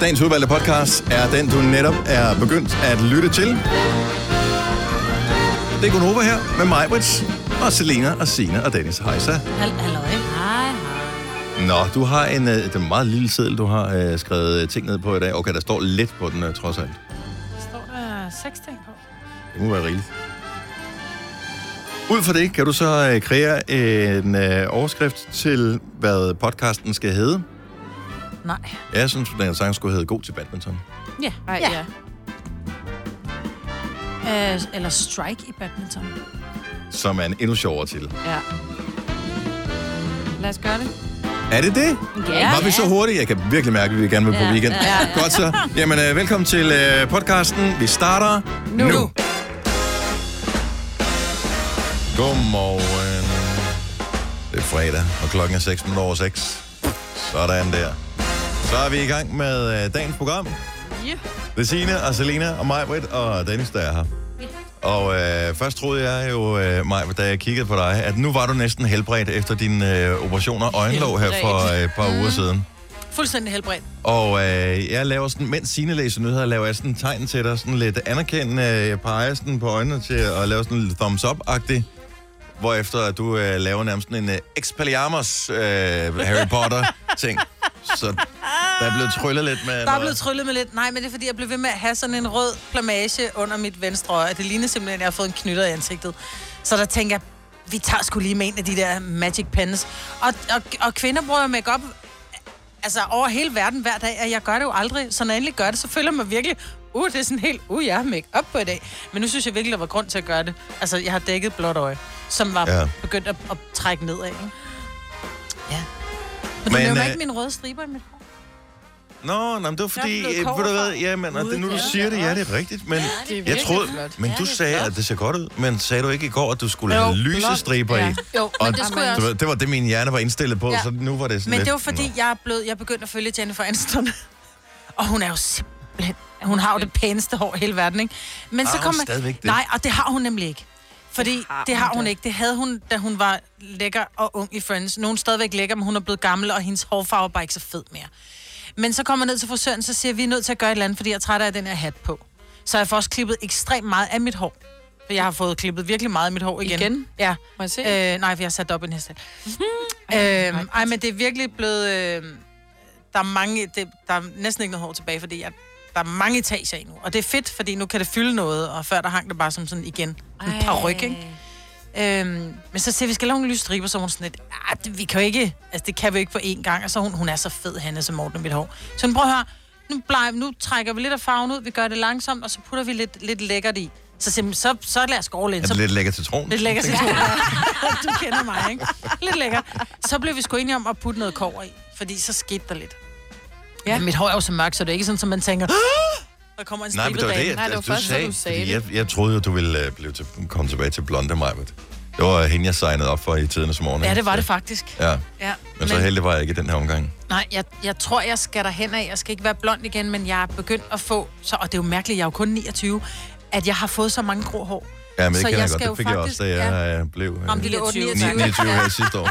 dagens udvalgte podcast er den, du netop er begyndt at lytte til. Det er Gunova her med mig, Brits, og Selena og Sina og Dennis. Hej så. Halløj. Hej, Nå, du har en, øh, det er en meget lille seddel, du har øh, skrevet øh, ting ned på i dag. Okay, der står lidt på den, øh, trods alt. Står der seks ting på? Det må være rigeligt. Ud fra det kan du så øh, kreere en øh, overskrift til, hvad podcasten skal hedde. Nej. Jeg synes, den sang skulle hedde God til badminton. Ja. Ej, ja. Øh, eller strike i badminton. Som er en endnu sjovere til. Ja. Lad os gøre det. Er det det? Ja. Var vi så hurtige? Jeg kan virkelig mærke, at vi gerne vil på Ja, weekend. ja, ja. Godt så. Jamen, øh, velkommen til øh, podcasten. Vi starter nu. nu. Godmorgen. Det er fredag, og klokken er 6 over 6. Sådan der. Så er vi i gang med øh, dagens program. Yeah. Det er Signe og Selena og mig, Britt og Dennis, der er her. Og øh, først troede jeg jo, øh, Maj, da jeg kiggede på dig, at nu var du næsten helbredt efter dine øh, operationer af øjenlåg her for øh, et par uger siden. Fuldstændig helbredt. Og øh, jeg laver sådan, mens Signe læser nyheder, laver jeg sådan en tegn til dig, sådan lidt anerkendende, jeg peger sådan på øjnene til at lave sådan lidt thumbs up-agtig, hvorefter at du øh, laver nærmest sådan en øh, Expelliarmus øh, Harry Potter-ting. Så der er blevet tryllet lidt med Der er noget. blevet tryllet med lidt. Nej, men det er fordi, jeg blev ved med at have sådan en rød plamage under mit venstre øje. Det ligner simpelthen, at jeg har fået en knytter i ansigtet. Så der tænker jeg, vi tager sgu lige med en af de der magic pens. Og, og, og kvinder bruger jo make-up altså, over hele verden hver dag, og jeg gør det jo aldrig. Så når jeg endelig gør det, så føler jeg mig virkelig, uh, det er sådan helt, uh, jeg har make-up på i dag. Men nu synes jeg virkelig, der var grund til at gøre det. Altså, jeg har dækket blåt øje, som var Ja. ja. begyndt at, at trække nedad. Ikke? Ja. Men, Men, men du nævner øh, ikke mine røde striber i mit hår. Nå, nå, men det var fordi, Jeg er blevet øh, ved du kobberfar. hvad, ja, men, og det, er nu du siger det, ja, det er rigtigt, men det er jeg virkelig troede, flot. men Ja, du det er sagde, at det ser godt ud, men sagde du ikke i går, at du skulle have lyse striber i? Jo, Og men det skulle jeg du også. ved, det var det, min hjerne var indstillet på, Ja. så nu var det sådan Men lidt... det var fordi, jeg er blevet, jeg er begyndt at følge Jennifer Aniston. og hun er jo simpelthen... Hun har jo det pæneste hår i hele verden, ikke? Men Har så hun kom man- stadigvæk det? Nej, og det har hun nemlig ikke. Fordi det har, det har hun, ikke. Det havde hun, da hun var lækker og ung i Friends. Nu er hun stadigvæk lækker, men hun er blevet gammel, og hendes hårfarve er bare ikke så fed mere. Men så kommer jeg ned til frisøren, så siger jeg, vi er nødt til at gøre et eller andet, fordi jeg er træt af den her hat på. Så jeg får også klippet ekstremt meget af mit hår. For jeg har fået klippet virkelig meget af mit hår igen. Igen? Ja. Må jeg se? Øh, nej, for jeg har sat det op i en hest. øhm, ej, men det er virkelig blevet... Øh, der er mange... Det, der er næsten ikke noget hår tilbage, fordi jeg, der er mange etager endnu. Og det er fedt, fordi nu kan det fylde noget, og før der hang det bare som sådan igen. En par ryg, ikke? Øhm, men så siger vi, vi skal lave nogle lyse striber, så er hun sådan lidt, "Ah, det, vi kan jo ikke, altså det kan vi jo ikke på én gang. Og så er hun, hun er så fed, Hanne, som Morten med mit hår. Så hun prøv at høre, nu, blej, nu trækker vi lidt af farven ud, vi gør det langsomt, og så putter vi lidt, lidt lækkert i. Så, simpelthen, så, så lad os gå all in. Er det Så lidt lækker til troen? Lidt lækker citron. du kender mig, ikke? Lidt lækker. Så blev vi sgu enige om at putte noget kover i, fordi så skete der lidt. Ja. Men mit hår er jo så mørkt, så det er ikke sådan, som man tænker, "Ah!" der kommer en Nej, men stribet det var det, bag. jeg, Nej, det var du først, da sagde. du sagde fordi det. jeg, jeg troede jo, du ville øh, blive til, komme tilbage til blonde mig. Det var hende, jeg signede op for i tidernes morgen. Ja, ikke? det var det Så- faktisk. Ja, Ja. men så heldig var jeg ikke i den her omgang. nej, jeg, jeg tror, jeg skal derhen af. Jeg skal ikke være blond igen, men jeg er begyndt at få... Så, og det er jo mærkeligt, jeg er jo kun 29, at jeg har fået så mange grå hår. Ja, men det Så kender jeg jeg godt. skal jo Det fik jeg også, da faktisk- jeg øh, blev øh, Om de der 29. 29 her sidste år.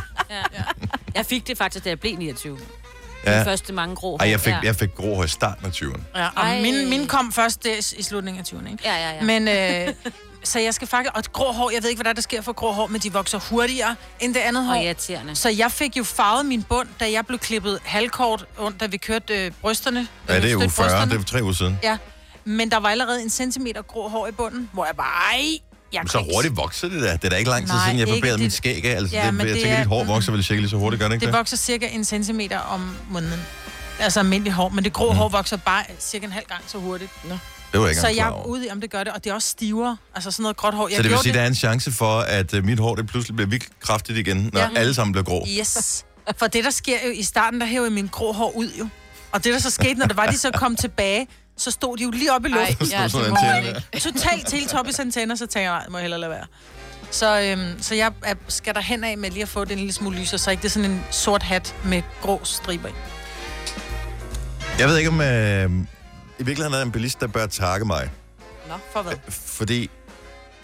Jeg fik det faktisk, da jeg blev 29. Ja. Ja. Den første mange grå. Ej, jeg fik, Ja. jeg fik grå hår i starten af 20'erne. Ja, Ej. og min, min kom først der i slutningen af 20'erne, ikke? Ja, ja, ja. Men, øh, så jeg skal faktisk... Og et grå hår, jeg ved ikke, hvad der, er, der sker for grå hår, men de vokser hurtigere end det andet hår. Og irriterende. Så jeg fik jo farvet min bund, da jeg blev klippet halvkort, rundt, da vi kørte øh, brysterne. Ja, det er Støtte jo 40, brysterne. det er tre uger siden. Ja, men der var allerede en centimeter grå hår i bunden, hvor jeg bare... Ej, jeg Men kan så ikke- hurtigt vokser det der. Det er da ikke lang tid Nej, siden, jeg ikke barberede det- mit skæg af. Altså, Ja, det, men jeg det tænker, er- dit hår vokser vel cirka lige så hurtigt, gør det ikke Det det? vokser cirka en centimeter om måneden. Altså almindelig hår, men det grå mm. hår vokser bare cirka en halv gang så hurtigt. Mhm. Det var jeg Så ikke jeg engang er klar over. ude i, om det gør det, og det er også stivere. Altså sådan noget gråt hår. Jeg Så det vil gjorde sige, at der er en chance for, at øh, mit hår det pludselig bliver vildt kraftigt igen, når Ja. alle sammen bliver grå. Yes. For det, der sker jo i starten, der hæver jeg min grå hår ud jo. Og det, der så skete, når det var, de så kom tilbage, så stod de jo lige oppe i Ej, luften. ja, Sådan det en må man antenne. ikke. Totalt til Toppes antenner, så tænker jeg, nej, må jeg hellere lade være. Så, øhm, så jeg er, skal der hen af med lige at få den lille smule lyser, så ikke det er sådan en sort hat med grå striber i. Jeg ved ikke, om øh, i virkeligheden er der en bilist, der bør takke mig. Nå, for Øh, hvad? Fordi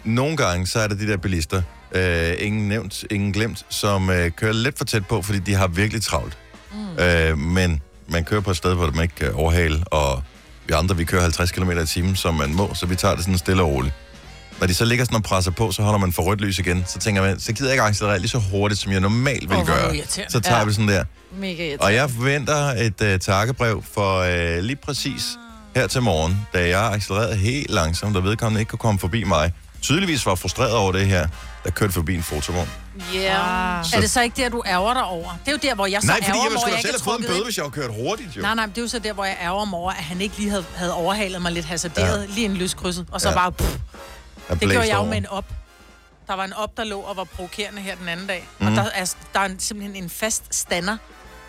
nogle gange, så er der de der bilister, øh, ingen nævnt, ingen glemt, som øh, kører lidt for tæt på, fordi de har virkelig travlt. Mm. Øh, men man kører på et sted, hvor man ikke kan overhale, og vi andre, vi kører 50 km i timen, som man må, så vi tager det sådan stille og roligt. Når de så ligger sådan og presser på, så holder man for rødt lys igen. Så tænker man, så gider jeg ikke accelerere lige så hurtigt, som jeg normalt ville Åh, hvor er du gøre. irriterende. Så tager Ja. vi sådan der. Mega irriterende. Og jeg forventer et øh, takkebrev for øh, lige præcis her til morgen, da jeg accelererede helt langsomt, og vedkommende ikke kunne komme forbi mig. Tydeligvis var frustreret over det her, der kørte forbi en fotovogn. Yeah. Er det så ikke der, du ærger dig over? Det er jo der, hvor jeg så Ah. Nej, fordi ærger mig jeg ville over, sgu at da jeg selv ikke er have fået en trukket bøde, ind. hvis jeg havde kørt hurtigt, jo. Nej, nej, men det er jo så der, hvor jeg ærger mig over, at han ikke lige havde, havde overhalet mig lidt hasarderet, ja. lige en lyskrydset, og så Ja. ja. bare... Pff, Jeg det gjorde blæste jeg jo over. med en op. Der var en op, der lå og var provokerende her den anden dag. Mm. Mhm. Og der er, der er en, simpelthen en fast stander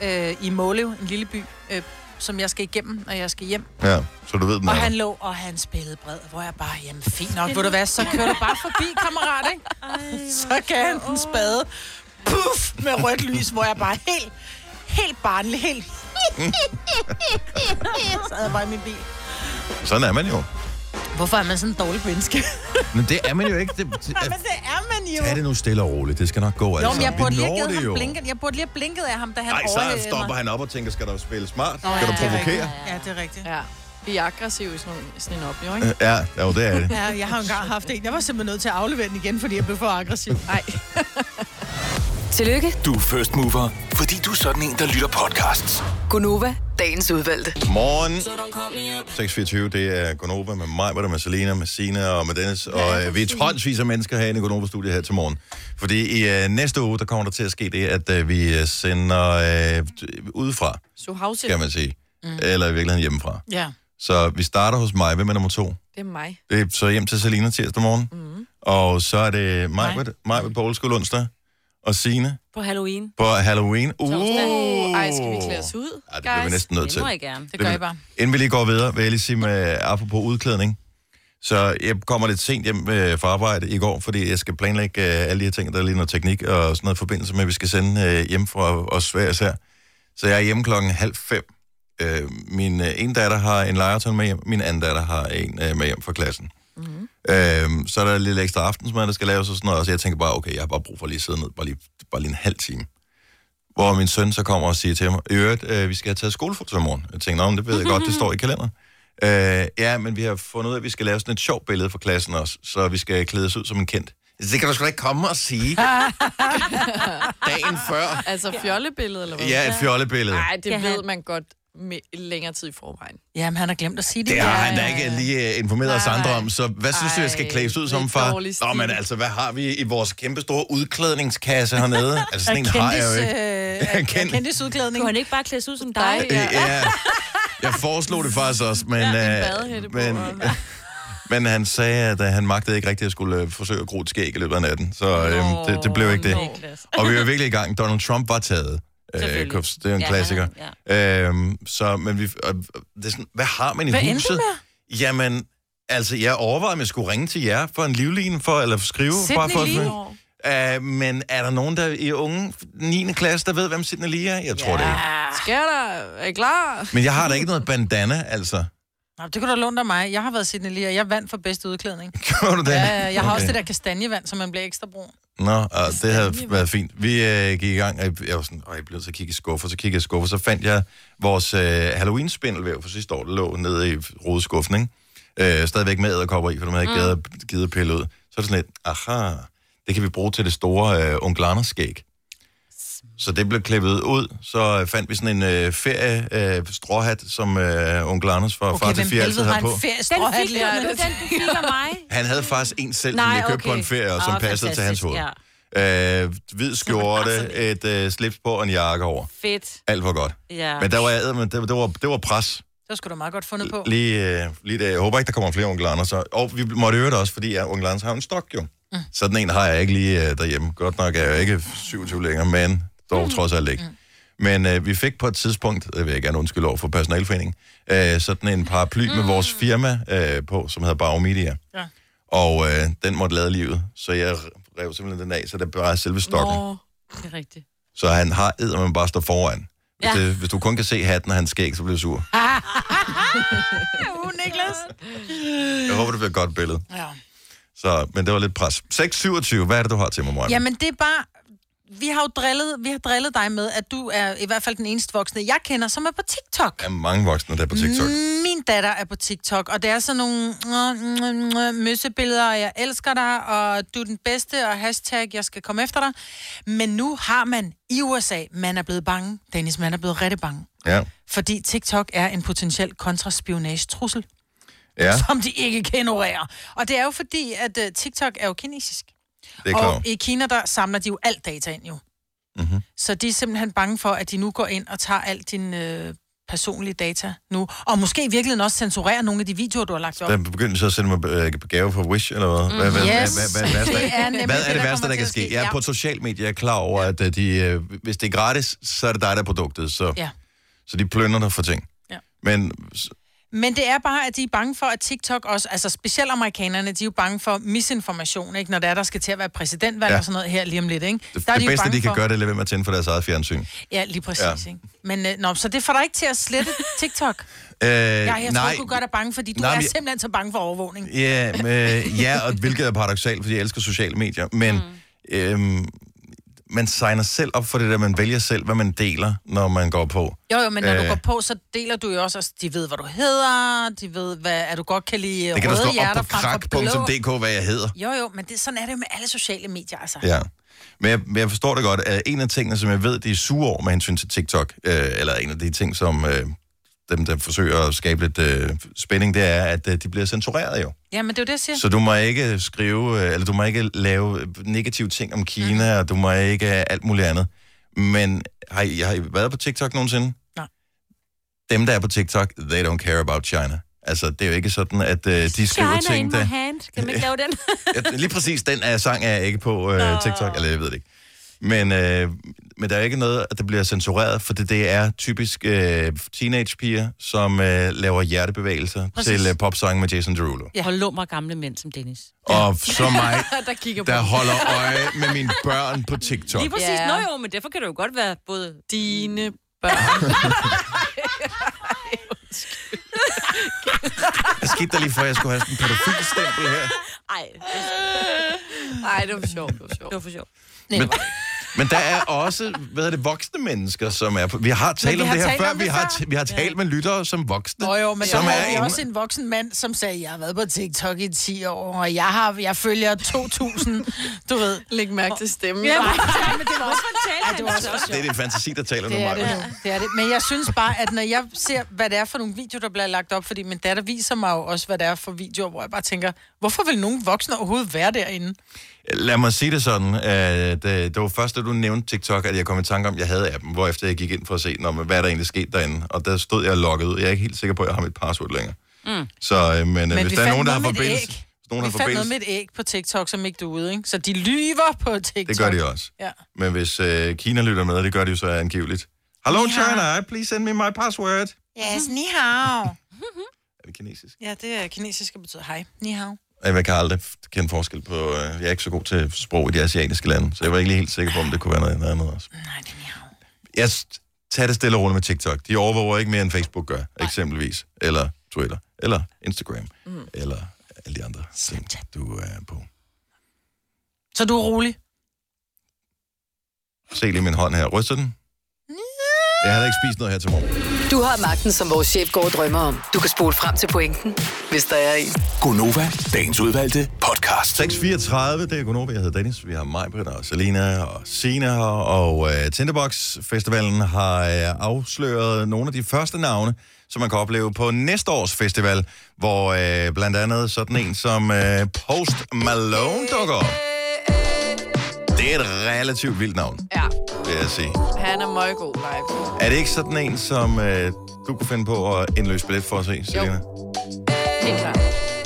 øh, i Målev, en lille by, øh, som jeg skal igennem, når jeg skal hjem. Ja, så du ved den Og er der. han lå, og han spillede bred, hvor jeg bare, jamen fint nok, ved du hvad, så kører du bare forbi, kammerat, ikke? Så gav han den spade, puff, med rødt lys, hvor jeg bare helt, helt barnlig, helt... så havde jeg bare i min bil. Sådan er man jo. Hvorfor er man sådan en dårlig menneske? Men det er man jo ikke. Det, det, Men det er man jo. er det nu stille og roligt. Det skal nok gå, altså. Jo, men jeg Vi burde, lige når have givet det ham jo. blinket. jeg burde lige have blinket af ham, da han Nej, så overhældede stopper mig. han op og tænker, skal du spille smart? Nå, Skal du ja, Det er rigtigt. provokere? Ja, det er rigtigt. Ja. Vi er aggressive i sådan, nogle- sådan en oplever, ikke? Øh, Ja, ja jo, det er det. Ja, jeg har jo engang haft en. Jeg var simpelthen nødt til at aflevere den igen, fordi jeg blev for aggressiv. Nej. Tillykke, Du er first mover, fordi du er sådan en, der lytter podcasts. Gunova, dagens udvalgte. Morgen. 6.24, det er Gonova med mig, hvor der med Selena, med Sina og med Dennis. Og øh, vi er tonsvis af mennesker herinde i Gonova-studiet her til morgen. Fordi i øh, næste uge, der kommer der til at ske det, at øh, vi øh, sender øh, udefra, So house kan man sige. Eller i virkeligheden hjemmefra. Ja. Så vi starter hos mig. Hvem er nummer to? Det er mig. Det er så hjem til Selina tirsdag morgen. Mm. Og så er det Majbert, Majbert på Olskole onsdag. Og Sine På Halloween. på Halloween. Uh, Uh, ej, skal vi klæde os ud, Ej, det bliver vi guys? næsten nødt Det til. må jeg gerne. Det gør jeg bare. Inden vi lige går videre, vil jeg lige sige med apropos udklædning. Så jeg kommer lidt sent hjem øh, fra arbejde i går, fordi jeg skal planlægge øh, alle de her ting, der er lige noget teknik og sådan noget i forbindelse med, at vi skal sende øh, hjem fra os hver især. Så jeg er hjemme klokken halv fem. Øh, min øh, ene datter har en legetøj med hjem, min anden datter har en øh, med hjem fra klassen. Øhm, så er der lidt ekstra aftensmad, der skal laves og sådan noget. Og så jeg tænker bare, okay, jeg har bare brug for lige at sidde ned, bare lige, bare lige en halv time. Hvor min søn så kommer og siger til mig, i øvrigt, øh, vi skal have taget skolefoto i morgen. Jeg tænker, nå, men det ved jeg godt, det står i kalenderen. Øh, ja, men vi har fundet ud af, at vi skal lave sådan et sjovt billede for klassen også, så vi skal klæde os ud som en kendt. Det kan du sgu da ikke komme og sige. Dagen før. Altså fjollebillede, eller hvad? Ja, et fjollebillede. Nej, det Skal ved han- man godt med længere tid i forvejen. Jamen, han har glemt at sige det. Det har Ja. han da ikke lige øh, informeret os Nej. andre om, så hvad synes du, jeg skal Ej, klædes ud lidt som, far? dårlig stil. Nå, men altså, hvad har vi i vores kæmpe store udklædningskasse hernede? Altså, sådan en har jeg Kendis, jo øh, ikke. er- er Kendis. kendis udklædning. Kunne han ikke bare klædes ud som dig? Dig. Øh, Ja. Ja. Jeg foreslog det faktisk også, men... en øh, badehætte på, men, og- men han sagde, at øh, han magtede ikke rigtigt at skulle øh, forsøge at gro et skæg i løbet af natten, så øh, det, det blev ikke det. altså. Niklas. Og vi var virkelig altså. i gang. Donald Trump var taget. Øh, Selvfølgelig. Kofs- det er jo en Ja, klassiker. Ja. Øhm, så, men vi, og, og det er sådan, hvad har man i Hvad endte huset? Jamen, altså, jeg overvejede, om jeg skulle ringe til jer for en livline, for, eller skrive. bare for, Sidney Lee. Øh, men er der nogen der i unge 9. klasse, der ved, hvem Sidney Lee er? Jeg tror det ikke. Skal der? Er I klar? Men jeg har da ikke noget bandana, altså. Nå, det kunne du låne dig mig. Jeg har været Sidney Lee, og jeg vandt for bedste udklædning. Gjorde du det? Ja, jeg har også det der kastanjevand, som man bliver ekstra brun. Nå, og det havde været fint. Vi øh, gik i gang, og jeg- jeg var sådan, og jeg blev så kigge i skuffer, så kiggede jeg i skuffer, så fandt jeg vores øh, Halloween-spindelvæv fra sidste år, der lå nede i rodeskuffen, ikke? Øh, stadigvæk med æderkopper i, for dem havde jeg ikke mm. givet at pille ud. Så er det sådan lidt, aha, det kan vi bruge til det store øh, onkel Anders skæg. Så det blev klippet ud, så øh, fandt vi sådan en øh, ferie øh, stråhat, som øh, onkel Anders fra okay, far Okay, til hvem fire altid helvede har havde på. en ferie Den fik du, stråhat nu, den du fik af mig. Han havde faktisk en selv, som jeg købte på en ferie, og som Åh, passede til hans fantastisk, hoved. Ja. Øh, hvid skjorte, et øh, slips på og en jakke over. altså, Fedt. Alt var godt. Ja. Men der var, jeg, men det, det, var, det var pres. Det skulle du meget godt fundet på. Lige, øh, lige der. Jeg håber ikke, der kommer flere onkel Anders. så- Og vi måtte øve det også, fordi jeg, onkel Anders har en stok jo. Sådan en har jeg ikke lige øh, derhjemme. Godt nok er jeg jo ikke 27 længere, men dog trods alt ikke. Men øh, vi fik på et tidspunkt, det vil jeg gerne undskylde over for personalforeningen, øh, sådan en paraply med vores firma øh, på, som hedder Bauer Media. Ja. Og øh, den måtte lade livet, så jeg rev simpelthen den af, så der bare er selve stokken. Nå. Det er rigtigt. Så han har æder, man bare står foran. Hvis, Ja. det, hvis du kun kan se hatten og hans skæg, så bliver du sur. Uh, Niklas. Jeg håber, det bliver et godt billede. Ja. Så, men det var lidt pres. 6.27, hvad er det, du har til mig, Maja? Jamen, det er bare... vi har jo drillet, vi har drillet dig med, at du er i hvert fald den eneste voksne, jeg kender, som er på TikTok. Der er mange voksne, der er på TikTok. Mm. Min datter er på TikTok, og det er sådan nogle øh, øh, øh, møssebilleder, og jeg elsker dig, og du er den bedste, og hashtag, jeg skal komme efter dig. Men nu har man i USA, man er blevet bange. Dennis, man er blevet rigtig bange. Ja. Fordi TikTok er en potentiel kontraspionagetrussel, ja, som de ikke kan ignorere. Og det er jo fordi, at øh, TikTok er jo kinesisk. det er Og klart. Mhm. i Kina, der samler de jo alt data ind jo. Mm-hmm. Så de er simpelthen bange for, at de nu går ind og tager alt din øh, personlige data nu. Og måske i virkeligheden også censurerer nogle af de videoer, du har lagt op. Der begyndte så at sende mig øh, gave fra Wish, eller hvad? Hvad, hvad, Mm, Yes. hvad, hvad, hvad, Det er hvad, nemlig hvad det, er det der værste, kommer der til kan at ske? ske. Jeg er Ja. på sociale medier, jeg er klar over, at øh, de, øh, hvis det er gratis, så er det dig, der er produktet. Så, Ja. så de plønder dig for ting. Ja. Men Men det er bare, at de er bange for, at TikTok også, altså specielt amerikanerne, de er jo bange for misinformation, ikke? når der er, der skal til at være præsidentvalg Ja. ja. og sådan noget her lige om lidt. Ikke? det, der er det jo bedste, bange de kan for- gøre, det er at lade være med at tænde for deres eget fjernsyn. Øh, Ja, lige præcis. Ja. Ja. Ikke? Men, øh, nå, så det får dig ikke til at slette TikTok. Øh, Ja, jeg tror, du gør dig bange, fordi du Nej, nej, er men- simpelthen så bange for overvågning. Ja, men, øh, ja og hvilket er paradoxalt, fordi jeg elsker sociale medier, men mm. øhm, man signer selv op for det der, man vælger selv, hvad man deler, når man går på. Jo, jo, men når øh... Øh. du går på, så deler du jo også, altså, de ved, hvad du hedder, de ved, hvad, at du godt kan lide Det kan røde der stå op hjerter på frem for blå. krak.dk, hvad jeg hedder. Jo, jo, men det, sådan er det jo med alle sociale medier, altså. Ja. Ja. Men jeg, men jeg forstår det godt. at En af tingene, som jeg ved, de er sure over med hensyn til TikTok, øh, eller en af de ting, som øh, dem, der forsøger at skabe lidt øh, spænding, det er, at øh, de bliver censureret jo. men det er jo det, jeg siger. Så du må ikke skrive, øh, eller du må ikke lave negative ting om Kina, mm. Mm-hmm. og du må ikke øh, alt muligt andet. Men har I, har I været på TikTok nogensinde? Nej. Dem, der er på TikTok, they don't care about China. Altså, det er jo ikke sådan, at øh, de skriver China in ting, my der... hand. Kan man ikke lave den? Ja, lige præcis den er, sang er jeg ikke på øh, TikTok, eller jeg ved det ikke. Men, øh, men der er ikke noget, at det bliver censureret, for det, det er typisk øh, teenagepiger, som øh, laver hjertebevægelser Præcis. til øh, popsange med Jason Derulo. Ja. Hold lummer gamle mænd som Dennis. Og så mig, der kigger på der holder øje med mine børn på TikTok. Lige præcis. Ja. Ja. Nå jo, men derfor kan det jo godt være både... dine børn. Hvad skete der lige for, at jeg skulle have sådan en pædofilstempel her? Ej, Nej, det var sjovt, det var sjovt. det var for sjovt. Men, men der er også, hvad er det, voksne mennesker, som er på... Vi har talt vi om har det her talt før. om Vi det har, før. t- vi har talt med lyttere som voksne. Nå jo, men som der er havde vi inde- også en voksen mand, som sagde, jeg har været på TikTok i 10 år, og jeg, har, jeg følger 2.000, du ved. Læg mærke til stemmen. Ja, Ja. men, men det var også, Ej, det var også Det er din fantasi, der taler nu, Det er det, Maja. nu. det er det. Men jeg synes bare, at når jeg ser, hvad det er for nogle videoer, der bliver lagt op, fordi min datter viser mig jo også, hvad det er for videoer, hvor jeg bare tænker, hvorfor vil nogen voksne overhovedet være derinde? Mm. Lad mig sige det sådan, at øh, det var først, da du nævnte TikTok, at jeg kom i tanke om, at jeg havde appen, hvorefter jeg gik ind for at se, når, hvad der egentlig skete derinde. Og der stod jeg logget ud. Jeg er ikke helt sikker på, at jeg har mit password længere. Mm. Så, øh, men, men Men hvis vi der er fandt nogen, der har noget med et forbindelse... æg. Hvis nogen Vi har fandt noget forbindelse, med et æg på TikTok, som ikke du ude, ikke? Så de lyver på TikTok. det gør de også. Ja. Men hvis øh, Kina lytter med, og det gør de jo så angiveligt. Hello China, please send me my password. Yes, ni hao. Er det kinesisk? Ja, det er kinesisk, der betyder hej. Ni hao. Ej, Jeg kan aldrig kende forskel på... Øh, jeg er ikke så god til sprog i de asiatiske lande, så jeg var ikke lige helt sikker på, om det kunne være noget noget andet også. Nej, det er ni hao. jeg tager det stille og roligt med TikTok. De overvåger ikke mere, end Facebook gør, eksempelvis. Eller Twitter, eller Instagram, mm. eller alle de andre ting, du er på. Så du er rolig? Se lige min hånd her. Ryster den? Jeg havde ikke spist noget her til morgen. Du har magten, som vores chef går og drømmer om. Du kan spole frem til pointen, hvis der er en. Gonova, dagens udvalgte podcast. 6.34, det er Gunova, jeg hedder Dennis. Vi har Majbrit og Selina og Sina her, og øh, Tinderbox Festivalen har øh, afsløret nogle af de første navne, som man kan opleve på næste års festival, hvor øh, blandt andet sådan en som øh, Post Malone dukker op. Det er et relativt vildt navn, ja. vil jeg sige. Han er meget god live. Er det ikke sådan en, som øh, du kunne finde på at indløse billet for at se, Selina? Helt klart.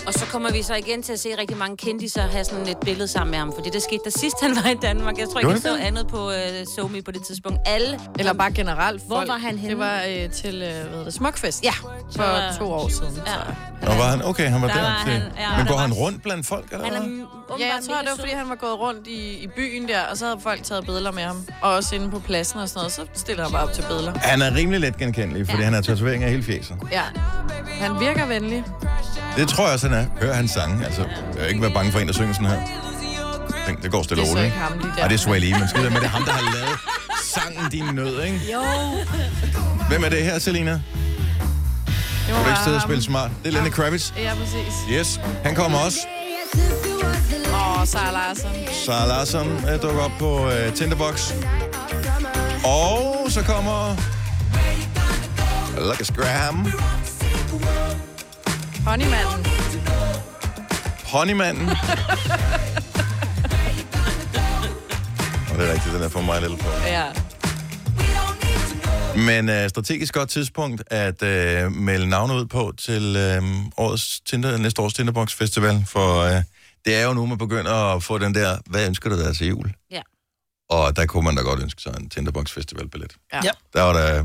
Og så kommer vi så igen til at se rigtig mange kendtiser have sådan et billede sammen med ham. Fordi det skete der sidst, han var i Danmark. Jeg tror ikke, Gjorde jeg så det det? andet på øh, SoMe på det tidspunkt. Alle Eller bare generelt. Hvor folk. var han henne? Det var øh, til, øh, hvad hedder det, Smukfest. Ja. For to år siden, ja. Ja. tror jeg. Og var han? Okay, han var der. Der var til- han, ja, Men der går var- han rundt blandt folk, eller Han er hvad? m- Ja, jeg tror, det var, fordi han var gået rundt i, i byen der, og så havde folk taget billeder med ham. Og også inde på pladsen og sådan noget, så stiller han bare op til billeder. Han er rimelig let genkendelig, fordi ja. han har tatoveringer af hele fjeset. Ja. Han virker venlig. Det tror jeg også, han er. Hør hans sange. Altså, jeg vil ikke være bange for en, der synger sådan her. Tænk, det går stille og Det er så roligt. ikke ham, de der. Og det er Swae Lee, men skidt med det er ham, der har lavet sangen Din Nød, ikke? Jo. Hvem er det her, Selina? Det Må du ikke sidde og ham. spille smart? Det er Lenny Kravitz. Ja, præcis. Yes, han kommer også. Åh, oh, Sarah Larsen. Sara Larsson øh, dukker op på øh, Tinderbox. Og så kommer... Lucas Graham, Honeymanden. Honeymanden. Og det er rigtigt, den er for mig lidt på. Ja. Men øh, strategisk godt tidspunkt at øh, melde navnet ud på til øh, årets Tinder, næste års Tinderbox Festival, for øh, det er jo nu, man begynder at få den der, hvad ønsker du dig til jul? Ja. Og der kunne man da godt ønske sig en Tinderbox Festival-billet. Ja. Ja. Der var der...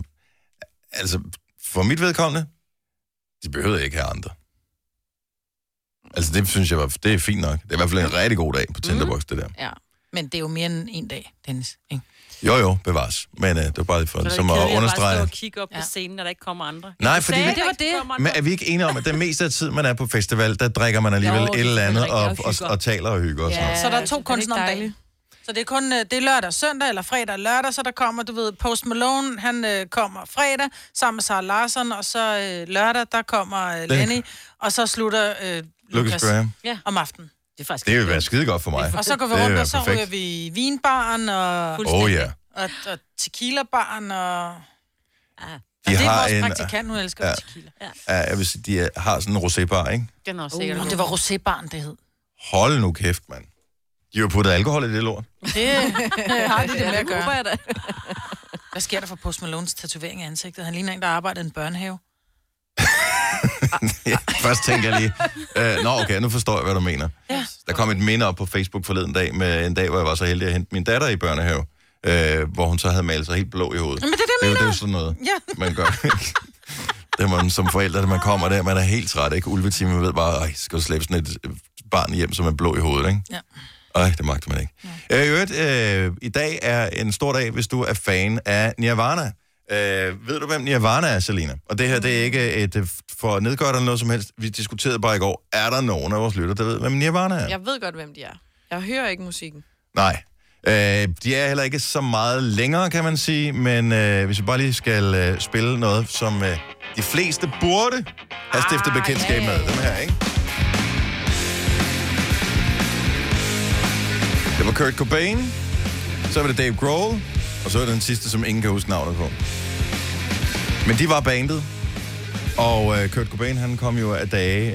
Altså, for mit vedkommende, de behøvede ikke have andre. Altså, det synes jeg var... Det er fint nok. Det er i hvert fald en rigtig god dag på Tinderbox, det der. ja. Men det er jo mere end en dag, Dennis. Ikke? Jo, jo, bevares. Men øh, det var bare for, som at understrege... Bare stå og kigge op ja. Ja. på scenen, når der ikke kommer andre. Nej, fordi... Sagde Vi, det der var ikke det. kommer andre. men er vi ikke enige om, at den meste af tid, man er på festival, der drikker man alligevel Jo, jo, det et er eller andet rigtigt, og, og og, hygger. og, taler og hygger og sådan noget. Så der er det er to ikke kunstnere om dagen. dejligt. Så det er kun øh, det er lørdag og søndag, eller fredag og lørdag, så der kommer, du ved, Post Malone, han øh, kommer fredag sammen med Sarah Larsen, og så øh, lørdag, der kommer øh, Lenny, og så slutter øh, Lucas Lucas Graham. om aftenen. Det er faktisk Det vil være skide godt for mig. Og så går vi Det vil rundt, være og så perfekt. ryger vi i vinbaren, og, Åh oh, ja. og, og tequilabaren, og... Ah, De og det er har vores en, praktikant, hun elsker Ja. ja. tequila. ja, jeg vil sige, de er- har sådan en rosébar, ikke? den er også Uh, sikkert. det var rosébaren, det hed. Hold nu kæft, mand. De har jo puttet alkohol i det lort. Det øh, har de det med at gøre. Håber jeg da. Hvad sker der for Post Malones tatovering af ansigtet? Han ligner en, der arbejder i en børnehave. ja, først tænker jeg lige, øh, nå okay, nu forstår jeg, hvad du mener. Ja. Der kom et minde op på Facebook forleden dag, med en dag, hvor jeg var så heldig at hente min datter i børnehave, øh, hvor hun så havde malet sig helt blå i hovedet. Men det er det, Det er jeg jo det er jo mener. sådan noget, Ja, man gør. det er man som forældre, da man kommer der, man er helt træt, ikke? Ulvetime, man ved bare, ej, skal du slæbe sådan et øh, barn hjem, som er blå i hovedet, ikke? Ja. Ej, det magter man ikke. Ja. Øh, i øvrigt, øh, i dag er en stor dag, hvis du er fan af Nirvana. Øh, ved du, hvem Nirvana er, Selina? Og det her, det er ikke et øh, for nedgørende eller noget som helst. Vi diskuterede bare i går, er der nogen af vores lytter, der ved, hvem Nirvana er? Jeg ved godt, hvem de er. Jeg hører ikke musikken. Nej. Øh, de er heller ikke så meget længere, kan man sige, men øh, hvis vi bare lige skal øh, spille noget, som øh, de fleste burde have stiftet bekendtskab med. Dem her, ikke? Det var Kurt Cobain, så var det Dave Grohl, og så var det den sidste, som ingen kan huske navnet på. Men de var bandet, og øh, Kurt Cobain, han kom jo af dage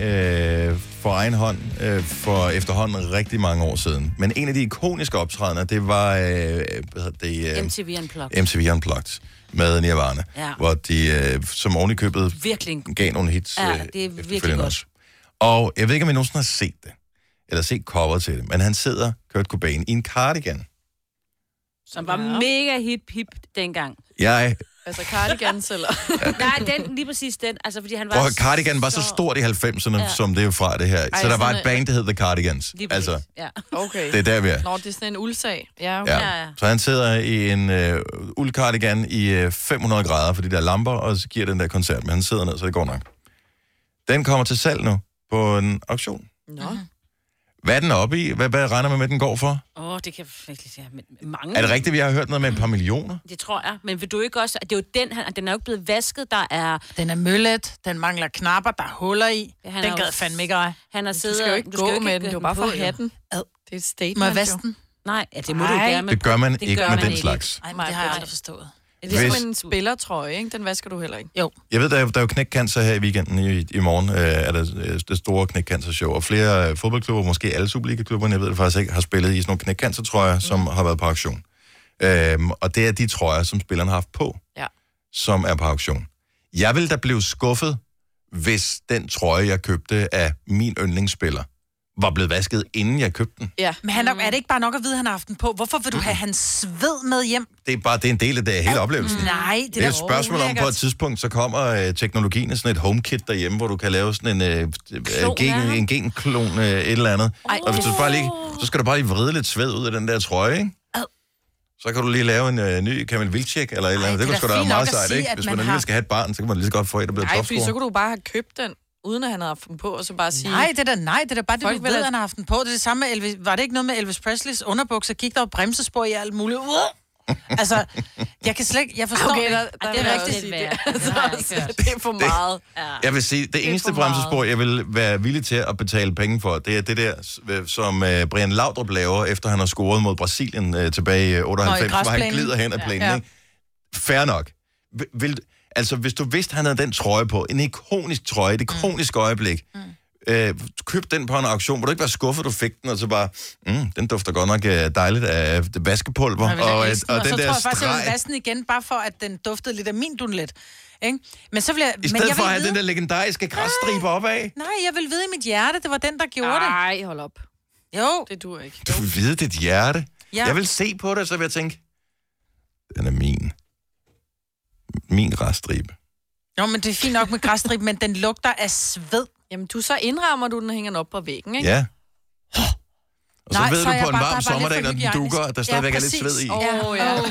øh, for egen hånd øh, for efterhånden rigtig mange år siden. Men en af de ikoniske optrædener, det var øh, hvad hedder det, øh, MTV Unplugged. MTV Unplugged med Nirvana, Ja. hvor de øh, som oven i købet Virkelig en gav nogle hits Ja, øh, det er virkelig efterfølgende godt. også. Og jeg ved ikke, om I nogensinde har set det, eller set cover til det, men han sidder, Kurt Cobain, i en cardigan. som var mega hip hip dengang. Jeg, Altså Cardigans eller... Nej, den, lige præcis den. Altså, fordi han var... og cardigan var så stort i 90'erne, ja. som det er fra det her. Ej, så der var sådan et er- band, der hed The Cardigans. Lige præcis. Altså, Altså. Ja. Okay. det er der, vi er. Nå, det er sådan en uldsag. Ja, okay. Ja. Ja, ja. Så han sidder i en øh, uldcardigan i øh, 500 grader for de der lamper, og så giver den der koncert, men han sidder ned, så det går nok. Den kommer til salg nu på en auktion. Nå. Mhm. Hvad er den oppe i? Hvad, hvad regner man med, den går for? Åh, oh, det kan jeg virkelig sige. Men mange... Er det rigtigt, vi har hørt noget med et par millioner? Det tror jeg. Men vil du ikke også... Det er jo den, han, den er jo ikke blevet vasket, der er... Den er møllet, den mangler knapper, der er huller i. Ja, han den er jo- gad fandme ikke ej. Han har Du siddet... skal jo ikke du gå jo med den. Det er jo bare på, for jo. hatten. Det er et Må statement, jeg vaske den? Nej, ja, det må du Ej. gerne. Det gør man ikke gør med man den ikke. slags. Nej, Nej, det har jeg nej. aldrig forstået. Det Det er Hvis- som en spillertrøje, ikke? Den vasker du heller ikke. Jo, Jeg ved, der er, der er jo knækcancer her i weekenden i, i morgen, øh, er der øh, det store knækcancer-show, og flere øh, fodboldklubber, måske alle Superliga-klubberne, jeg ved det faktisk ikke, har spillet i sådan nogle knækcancer-trøjer, som har været på auktion. Øhm, og det er de trøjer, som spillerne har haft på, Ja. som er på auktion. Jeg ville da blive skuffet, hvis den trøje, jeg købte af min yndlingsspiller, var blevet vasket, inden jeg købte den. Ja. men han er, er det ikke bare nok at vide, at han har haft den på? Hvorfor vil du have hans sved med hjem? Mm. Det er bare det er en del af det, hele oplevelsen. Nej, det, Det er da altså. et spørgsmål om, på ulækkert. et tidspunkt, så kommer øh, teknologien af sådan et HomeKit derhjemme, hvor du kan lave sådan en, øh, øh, Klon af gen, ham. en genklon, øh, et eller andet. Ej, og hvis du bare lige, så skal du bare lige vride lidt sved ud af den der trøje, ikke? Ad. Så kan du lige lave en øh, ny Kamil Vilcek eller et eller andet. det Det, er da kunne sgu da være fint meget nok at sejt, sige, ikke? at Hvis man man alligevel har- skal have et barn, så kan man lige så godt få et, der bliver Nej, fordi så topscorer. kunne du bare have købt den uden at han havde haft dem på, og så bare sige... Nej, det er da, nej, det er da bare det, Folk du ved, ved, at at- han har haft den på. Det er det samme med Elvis. Var det ikke noget med Elvis Presleys underbukser? Gik der jo bremsespor i alt muligt. Uh! Altså, jeg kan slet ikke... Jeg forstår Okay, ikke. der, Ej, der det er rigtigt. sige, lidt værre. det, er altså, Den har jeg også- ikke hørt. det er for meget. Jeg vil sige, det eneste for meget. bremsespor, jeg vil være villig til at betale penge for, det er det der, s- øh, som øh, Brian Laudrup laver, efter han har scoret mod Brasilien øh, tilbage i øh, 98, hvor han græsplænen. glider hen ad plænen. Ja. Ja. Fair nok. Vil- Vil, altså, hvis du vidste, han havde den trøje på, en ikonisk Mm. trøje, et ikonisk øjeblik, øh, køb den på en auktion, hvor du ikke var skuffet, du fik den, og så bare, mm, den dufter godt nok øh, dejligt af vaskepulver, Jeg vil da og, elske den, og, og den så der tror jeg faktisk, jeg vil streg. vaske den igen, bare for at den duftede lidt af min dunlet. Ikke? Men så vil jeg... I men jeg stedet for vil at have vide, den der legendariske græsstribe opad. Nej, jeg vil vide i mit hjerte, det var den, der gjorde det. Nej, hold op. Jo, Det dur ikke. Du vil vide dit hjerte. Ja. Ja. Jeg vil se på det, så vil jeg tænke, den er min. Min reststribe. jo men det er fint nok med græsstrip, men den lugter af sved. Jamen, du så indrammer du den og hænger den op på væggen, ikke? Ja. Og så Nej, ved så du er jeg på en bare- der er varm bare lidt sommerdag, for når den hygiejnisk. dukker, at der stadigvæk ja, er lidt præcis. sved i. Åh, oh, ja.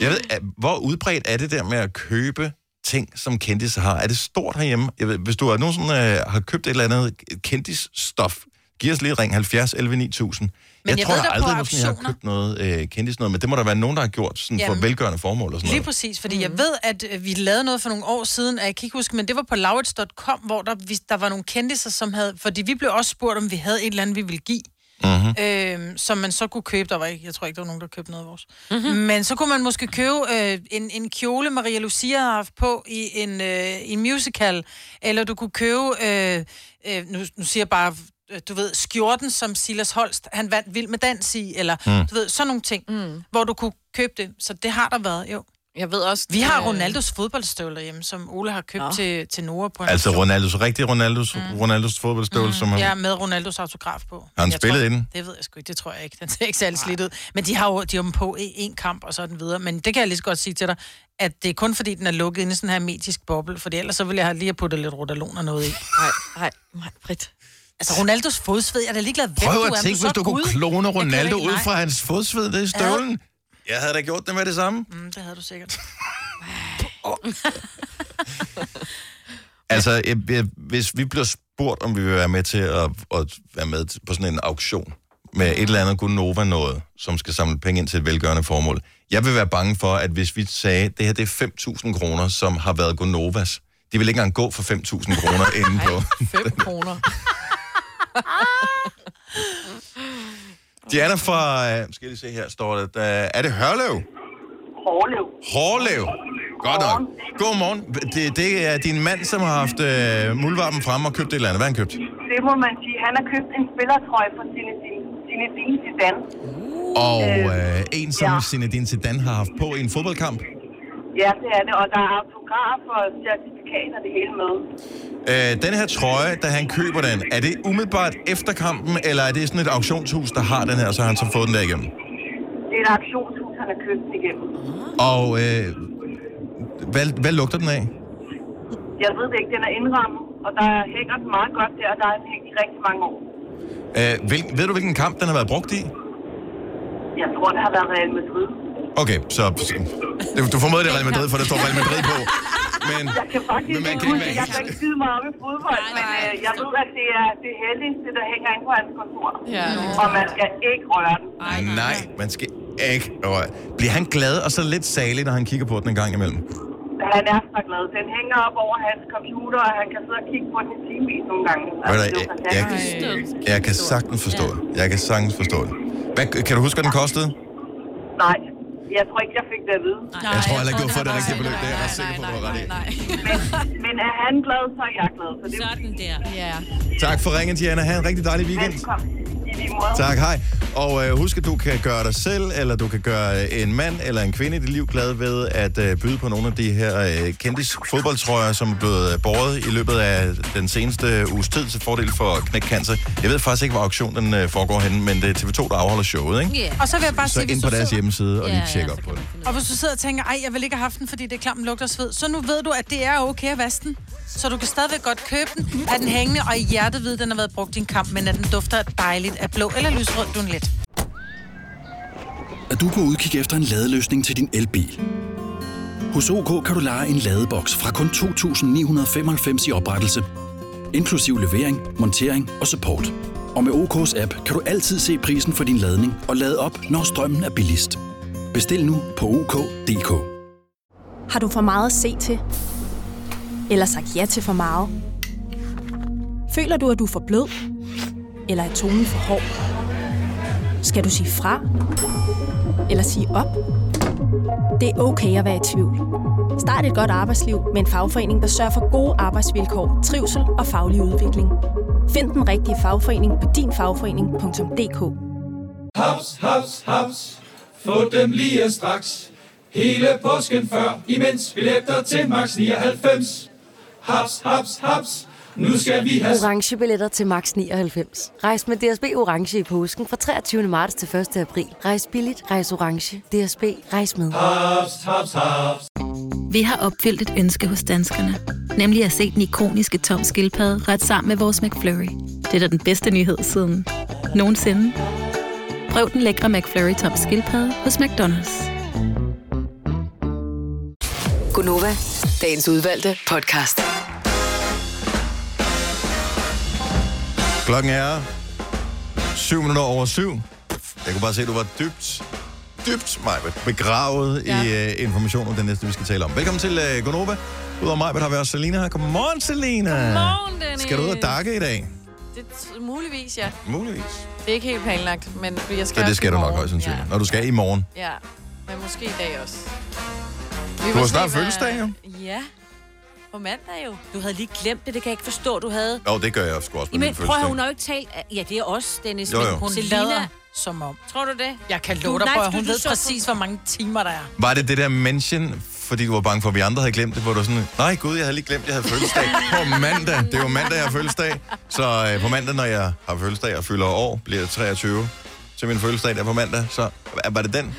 Jeg ved, at- hvor udbredt er det der med at købe ting, som kendis har? Er det stort herhjemme? Jeg ved, hvis du er nogen, som øh, har købt et eller andet kendis-stof, giv os lige et ring 70 11 9000. Jeg, jeg tror ved jeg da på aldrig, nogensinde, jeg har auktioner. købt noget øh, kendis noget, men det må der være nogen, der har gjort sådan for Jamen. velgørende formål og sådan Lige noget. præcis, fordi mm. jeg ved, at øh, vi lavede noget for nogle år siden, og jeg kan ikke huske, men det var på laurits.com, hvor der, vi, der var nogle kendiser, som havde, fordi vi blev også spurgt, om vi havde et eller andet, vi ville give, mm-hmm. øh, som man så kunne købe. Der var ikke, jeg tror ikke, der var nogen, der købte noget af vores. Mm-hmm. Men så kunne man måske købe øh, en, en kjole, Maria Lucia har haft på i en, øh, en musical, eller du kunne købe, øh, øh, nu, nu siger jeg bare øh, du ved, skjorten, som Silas Holst, han vandt vild med dans i, eller mm. du ved, sådan nogle ting, mm. hvor du kunne købe det. Så det har der været, jo. Jeg ved også... Vi har øh, Ronaldos fodboldstøvler hjemme, som Ole har købt Nå. til, til Nora på en Altså auktion. Ronaldos, rigtig Ronaldos, mm. Ronaldos fodboldstøvle, mm. som han, Ja, med Ronaldos autograf på. har han Jeg spillet tror, inden. Det ved jeg sgu ikke, det tror jeg ikke. Den ser ikke særlig slidt ud. Men de har jo de har dem på i en kamp og sådan videre. Men det kan jeg lige så godt sige til dig, at det er kun fordi, den er lukket inde i sådan her metisk boble, for ellers så ville jeg have lige have puttet lidt rotalon og noget i. Nej, nej, nej, Britt. Altså Ronaldos fodsved, jeg er da ligeglad, hvem du Prøv er. at men tænke, er hvis du kunne Gud. klone gider Ronaldo ikke, ud nej. fra hans fodsved, det er støvlen. Jeg havde da gjort det med det samme. Mm, det havde du sikkert. Altså, jeg, jeg, hvis vi bliver spurgt, om vi vil være med til at, at være med til- på sådan en auktion med et eller andet Gunova noget, som skal samle penge ind til et velgørende formål. Jeg vil være bange for, at hvis vi sagde, at det her det er 5.000 kroner, som har været Gunovas, de vil ikke engang gå for 5.000 kroner inde på. 5 kroner. Diana fra, øh, skal jeg lige se her, står der, der er det Hørlev? Hårlev. Hårlev. Godt nok. Godmorgen. Det, det er din mand, som har haft øh, muldvarpen frem og købt et eller andet. Hvad har han købt? Det må man sige. Han har købt en spillertrøje fra Zinedine Zinedine Zidane. Og øh, en, som ja. ja. Zinedine Zidane har haft på i en fodboldkamp. Ja, det er det. Og der er autograf og certifikat og det hele med. Øh, den her trøje, da han køber den, er det umiddelbart efter kampen, eller er det sådan et auktionshus, der har den her, så har han så fået den der igennem? Det er et aktionshus, han har købt den igennem. Og øh, hvad, hvad lugter den af? Jeg ved det ikke. Den er indrammet, og der hænger den meget godt der, og der har hængt i rigtig mange år. Øh, hvil, ved du, hvilken kamp den har været brugt i? Jeg tror, det har været Real Madrid. Okay, så du- du formodede det er Real Madrid, for der står Real Madrid på. Men, Jeg kan faktisk Men man ikke kan huske, ikke- jeg kan ikke skide meget om i fodbold, men øh, jeg ved, at det er det heldigste, der hænger inde på hans kontor. Ja. Og man skal ikke røre den. Ej, nej, man skal ikke røre. Bliver han glad og så lidt salig, når han kigger på den en gang imellem? Han er så glad. Den hænger op over hans computer, og han kan sidde og kigge på den i timevis nogle gange. Ved Altså, du, det er jo jeg, fantastisk. jeg, jeg kan sagtens forstå det. Jeg kan sagtens forstå det. Hvad, kan du huske, hvad den kostede? Nej, jeg tror ikke, jeg fik det at vide. jeg tror heller ikke, du har fået det rigtige beløb. Det er jeg ret sikker på, du har ret i. Men er han glad, så er jeg glad. Så det er Sådan der. Ja. Tak for ringen, Diana. Ha' en rigtig dejlig weekend. velkommen i din måde. Tak, hej. Og øh, husk, at du kan gøre dig selv, eller du kan gøre øh, en mand eller en kvinde i dit liv glad ved at øh, byde på nogle af de her øh, kendtis fodboldtrøjer, som er blevet øh, båret i løbet af den seneste uges tid til fordel for Knæk Cancer. Jeg ved faktisk ikke, hvor auktionen den øh, foregår henne, men det er TV2, der afholder showet, ikke? Ja. Og så vil jeg bare Så sige, hvis ind på du deres sidder, hjemmeside og lige Ja, ja, tjek op så på kan det. man finde ud af og hvis du sidder og tænker, ej, jeg vil ikke have haft den, fordi det er klam lugter og sved, så nu ved du, at det er okay at vaske den. Så du kan stadigvæk godt købe den, at den hængende, og i hjertet ved, at den har været brugt i en kamp, men at den dufter dejligt af blå eller lysrød dunlet. at du er på udkig efter en ladeløsning til din elbil. Hos OK kan du lege en ladeboks fra kun 2.995 i oprettelse, inklusiv levering, montering og support. Og med OK's app kan du altid se prisen for din ladning og lade op, når strømmen er billigst. Bestil nu på OK.dk. Har du for meget at se til? Eller sagt ja til for meget? Føler du, at du er for blød? Eller er tonen for hård? Skal du sige fra? Eller sige op? Det er okay at være i tvivl. Start et godt arbejdsliv med en fagforening, der sørger for gode arbejdsvilkår, trivsel og faglig udvikling. Find den rigtige fagforening på dinfagforening.dk Haps, haps, haps. Få dem lige straks. Hele påsken før, imens billetter til max 99. Haps, haps, haps. Nu skal vi have... orange billetter til max 99. Rejs med DSB orange i påsken fra 23. marts til 1. april. Rejs billigt, rejs orange. DSB rejs med. Haps, haps, haps. Vi har opfyldt et ønske hos danskerne. Nemlig at se den ikoniske tom skildpadde ret sammen med vores McFlurry. Det er da den bedste nyhed siden nogensinde. Prøv den lækre McFlurry tom skildpadde hos McDonald's. Gunova, dagens udvalgte podcast. Klokken er 7 minutter over 7. Jeg kunne bare se, at du var dybt, dybt Majbet, begravet ja. i uh, information om det næste, vi skal tale om. Velkommen til uh, Gonova. Udover Majbet har vi også Selina her. Godmorgen, Selina. Godmorgen, Dennis. Skal du ud og dakke i dag? Det t- muligvis, ja. Muligvis. Det er ikke helt planlagt, men jeg skal Så også det skal i du nok morgen. højst sandsynligt. Ja. Når du skal i morgen. Ja, men måske i dag også. Du var har snart sådan, fødselsdag, jo. Ja, på mandag jo. Du havde lige glemt det, det kan jeg ikke forstå, du havde. Jo, det gør jeg sgu også på min Jamen, prøv at høre, fødselsdag. hun har jo ikke talt... Ja, det er os, Dennis. Jo, men jo. Hun Hun Selina, lader som om. Tror du det? Jeg kan Du- love dig, nej, for at fordi hun du ved så- præcis, hvor mange timer der er. Var det det der mention, fordi du var bange for, at vi andre havde glemt det, hvor du var sådan, nej gud, jeg havde lige glemt, at jeg havde fødselsdag på mandag. Det var mandag, jeg har fødselsdag. Så øh, på mandag, når jeg har fødselsdag og fylder år, bliver jeg 23 til min fødselsdag der på mandag. Så øh, var det den?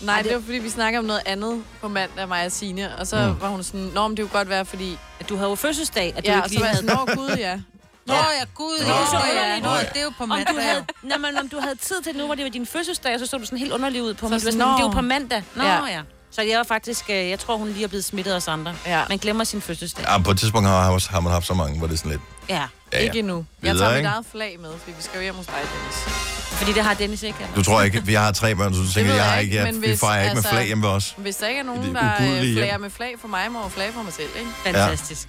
Nej, det var fordi, vi snakker om noget andet på mandag, mig og Signe. Og så Mm. var hun sådan, nå, men det kunne godt være, fordi... At du havde jo fødselsdag, at du ja, ikke og så lige var jeg sådan, havde- nå, gud, ja. Nå ja, gud, Nå, det er så ja. underligt. Nå, Nå, ja. det er jo på om mandag. du havde, nej, men om du havde tid til nu, hvor det var din fødselsdag, og så så du sådan helt underlig ud på mig. Så Så sådan, sådan, det er nå. jo på mandag. Nå, ja. Ja. ja. Så jeg var faktisk, øh, jeg tror, hun lige er blevet smittet af os andre. Ja. Man glemmer sin fødselsdag. Ja, på et tidspunkt har, har- har man haft så mange, hvor det er sådan lidt... Ja. Ja, ja. Ikke endnu. Jeg Videre, tager mit ikke? eget flag med, fordi vi skal jo hjem hos dig, Dennis. Fordi det har Dennis ikke. Du tror ikke, vi har tre børn, så du tænker, ved jeg, jeg har ikke, ikke, jeg, men vi hvis- fejrer ikke med altså- flag hjemme ved os. Hvis der ikke er Det nogen, er der øh, ugudelige hjem. flager med flag for mig, må jeg flage for mig selv, ikke? Fantastisk.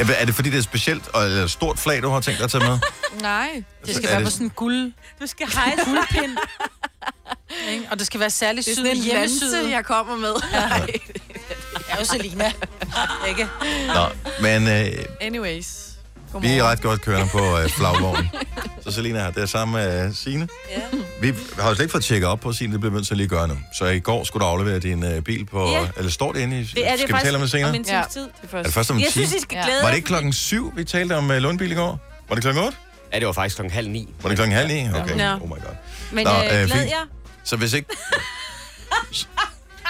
Er er det fordi, det er et specielt og eller et stort flag, du har tænkt dig at tage med? Nej. Det Så skal Altså, er være det- på sådan en guld, Du skal hejse. guldpind. Ikke? og det skal være særligt Det er syet sådan en hjemmesyet. lanse, jeg kommer med. Jeg er jo Selina. Ikke? Nå, men øh, Anyways. Vi Godmorgen. er ret godt kørende på øh, flagvognen. så Selina her, det er sammen med øh, Signe. Ja. Vi har jo slet ikke fået tjekket op på Signe, det bliver vi nødt til at lige gøre nu. Så i går skulle du aflevere din øh, bil på... Ja. Ja. Eller står det inde i... Det er det skal vi faktisk tale om det senere? om en Ja, times tid. det Er det første. først om en Jeg synes, I time? skal Ja. glæde Var det ikke klokken syv, vi talte om øh, Lundbil i går? Var det klokken otte? Ja, det var faktisk klokken halv ni. Var det klokken halv ni? Okay, Nå. oh my god. Men Nå, øh, glæd øh, fint. jer. Så hvis ikke...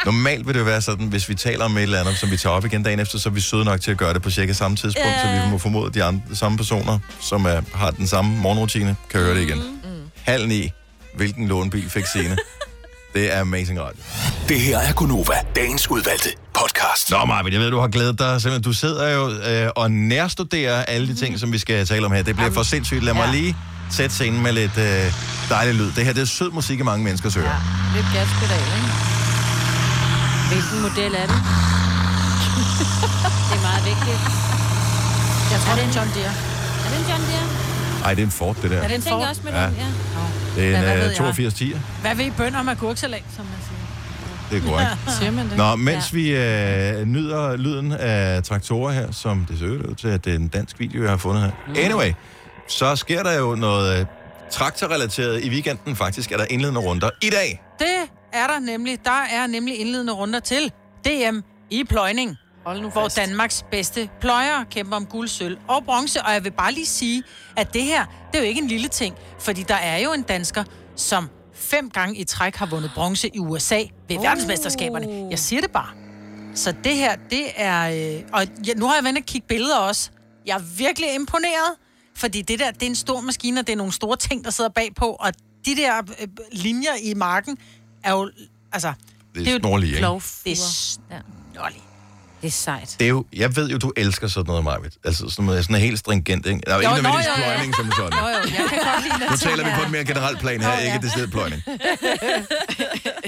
Normalt vil det jo være sådan, hvis vi taler om et eller andet, som vi tager op igen dagen efter, så er vi søde nok til at gøre det på cirka samme tidspunkt, så vi må formode, at de andre, samme personer, som er, har den samme morgenrutine, kan høre det igen. Mm. Halv ni. Hvilken lånbil fik scene? det er amazing radio. Det her er Gunova, dagens udvalgte podcast. Nå, Marvin, jeg ved, du har glædet dig. Simpelthen, du sidder jo øh, og nærstuderer alle de ting, som vi skal tale om her. Det bliver for sindssygt. Lad mig lige sætte scenen med lidt øh, dejlig lyd. Det her, det er sød musik i mange menneskers ører. Ja. Lidt gaspedal, ikke? Hvilken model er det? det er meget vigtigt. Jeg tror, det er en John Deere. Er det en John Deere? Ej, det er en Ford, det der. Er det en Jeg tænker Ford? også med Ja. den, ja. Det Hvad- er hvad en ved øh, jeg? 82 10'er. Hvad ved I bønder om agurksalat, som man siger? Det er korrekt. Siger man det? Nå, mens vi øh, nyder lyden af traktorer her, som det ser ud til, at det er en dansk video, jeg har fundet her. Mm. Anyway, så sker der jo noget øh, traktorrelateret i weekenden faktisk, er der indledende runder i dag. Det er der nemlig. Der er nemlig indledende runder til DM i pløjning. Hold nu hvor fast. Danmarks bedste pløjer kæmper om guld, sølv og bronze. Og jeg vil bare lige sige, at det her, det er jo ikke en lille ting. Fordi der er jo en dansker, som fem gange i træk har vundet bronze i USA ved oh. verdensmesterskaberne. Jeg siger det bare. Så det her, det er... Øh, og ja, nu har jeg været at kigge billeder også. Jeg er virkelig imponeret, fordi det der, det er en stor maskine, og det er nogle store ting, der sidder bagpå. Og de der øh, linjer i marken er jo... Altså, Det er snorlige, ikke? det er s- Nolly. Det er sejt. Det er jo, jeg ved jo, du elsker sådan noget, Marvitt. Altså sådan noget, sådan helt stringent, ikke? Der er jo ikke nødvendigvis pløjning som sådan. Jo, jo, jeg kan godt lide Nu taler vi på et mere generelt plan her, ikke det stedet pløjning.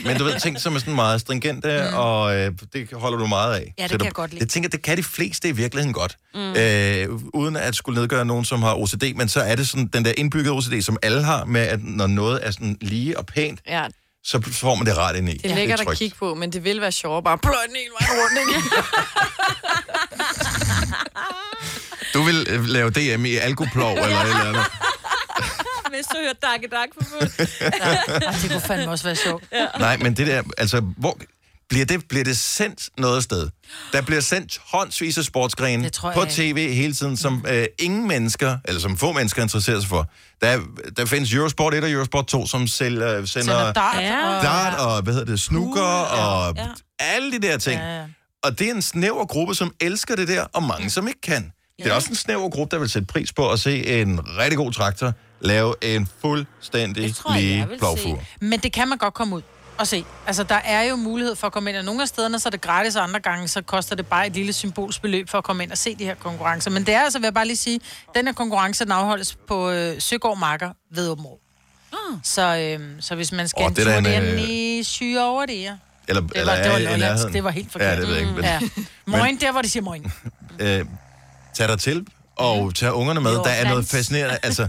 Men du ved, ting som er sådan meget stringente, mm. og øh, det holder du meget af. Ja, det kan Så du, jeg godt lide. Jeg tænker, det kan de fleste i virkeligheden godt. Mm. Mm. Øh, uden at skulle nedgøre nogen, som har OCD, men så er det sådan den der indbyggede OCD, som alle har, med at når noget er sådan lige og pænt, Ja, så får man det ret ind i. det er lækkert at trygt. kigge på, men det vil være sjovere bare blød den hele vejen rundt, ikke? Du vil øh, lave DM i alkoplov eller et eller andet. Hvis du hørte dakke dak for fuld. Ej, det kunne fandme også være sjovt. Nej, men det der, altså, hvor, bliver, det, bliver det sendt noget sted? Der bliver sendt håndsvis af sportsgrene tror jeg på ikke. Mm. tv hele tiden, som øh, ingen mennesker, eller som få mennesker interesserer sig for. Der, der findes Eurosport 1 og Eurosport 2, som sælger, sender, Sender dart og- dart og, hvad hedder det, snooker og ja. alle de der ting. Ja, ja. Og det er en snæver gruppe, som elsker det der, og mange, som ikke kan. Det er også en snæver gruppe, der vil sætte pris på at se en rigtig god traktor lave en fuldstændig lige plovfur. Men det kan man godt komme ud og se. Altså, der er jo mulighed for at komme ind, og nogle af stederne, så er det gratis, og andre gange, så koster det bare et lille symbolsbeløb for at komme ind og se de her konkurrencer. Men det er altså, vil jeg bare lige sige, den her konkurrence, den afholdes på øh, Søgaard Marker ved Åben Ah. Så, øh, så hvis man skal Åh, oh, en det er tur, da en, det er øh, i syge over det, ja. Eller, Det eller var, det er var i Lolland, nærheden. det var helt forkert. Ja, det ved jeg ikke. Men, Ja. ja. Moin, der hvor de siger moin. øh, tag dig til, og tag ungerne med. Jo, der er noget dans. fascinerende. Altså,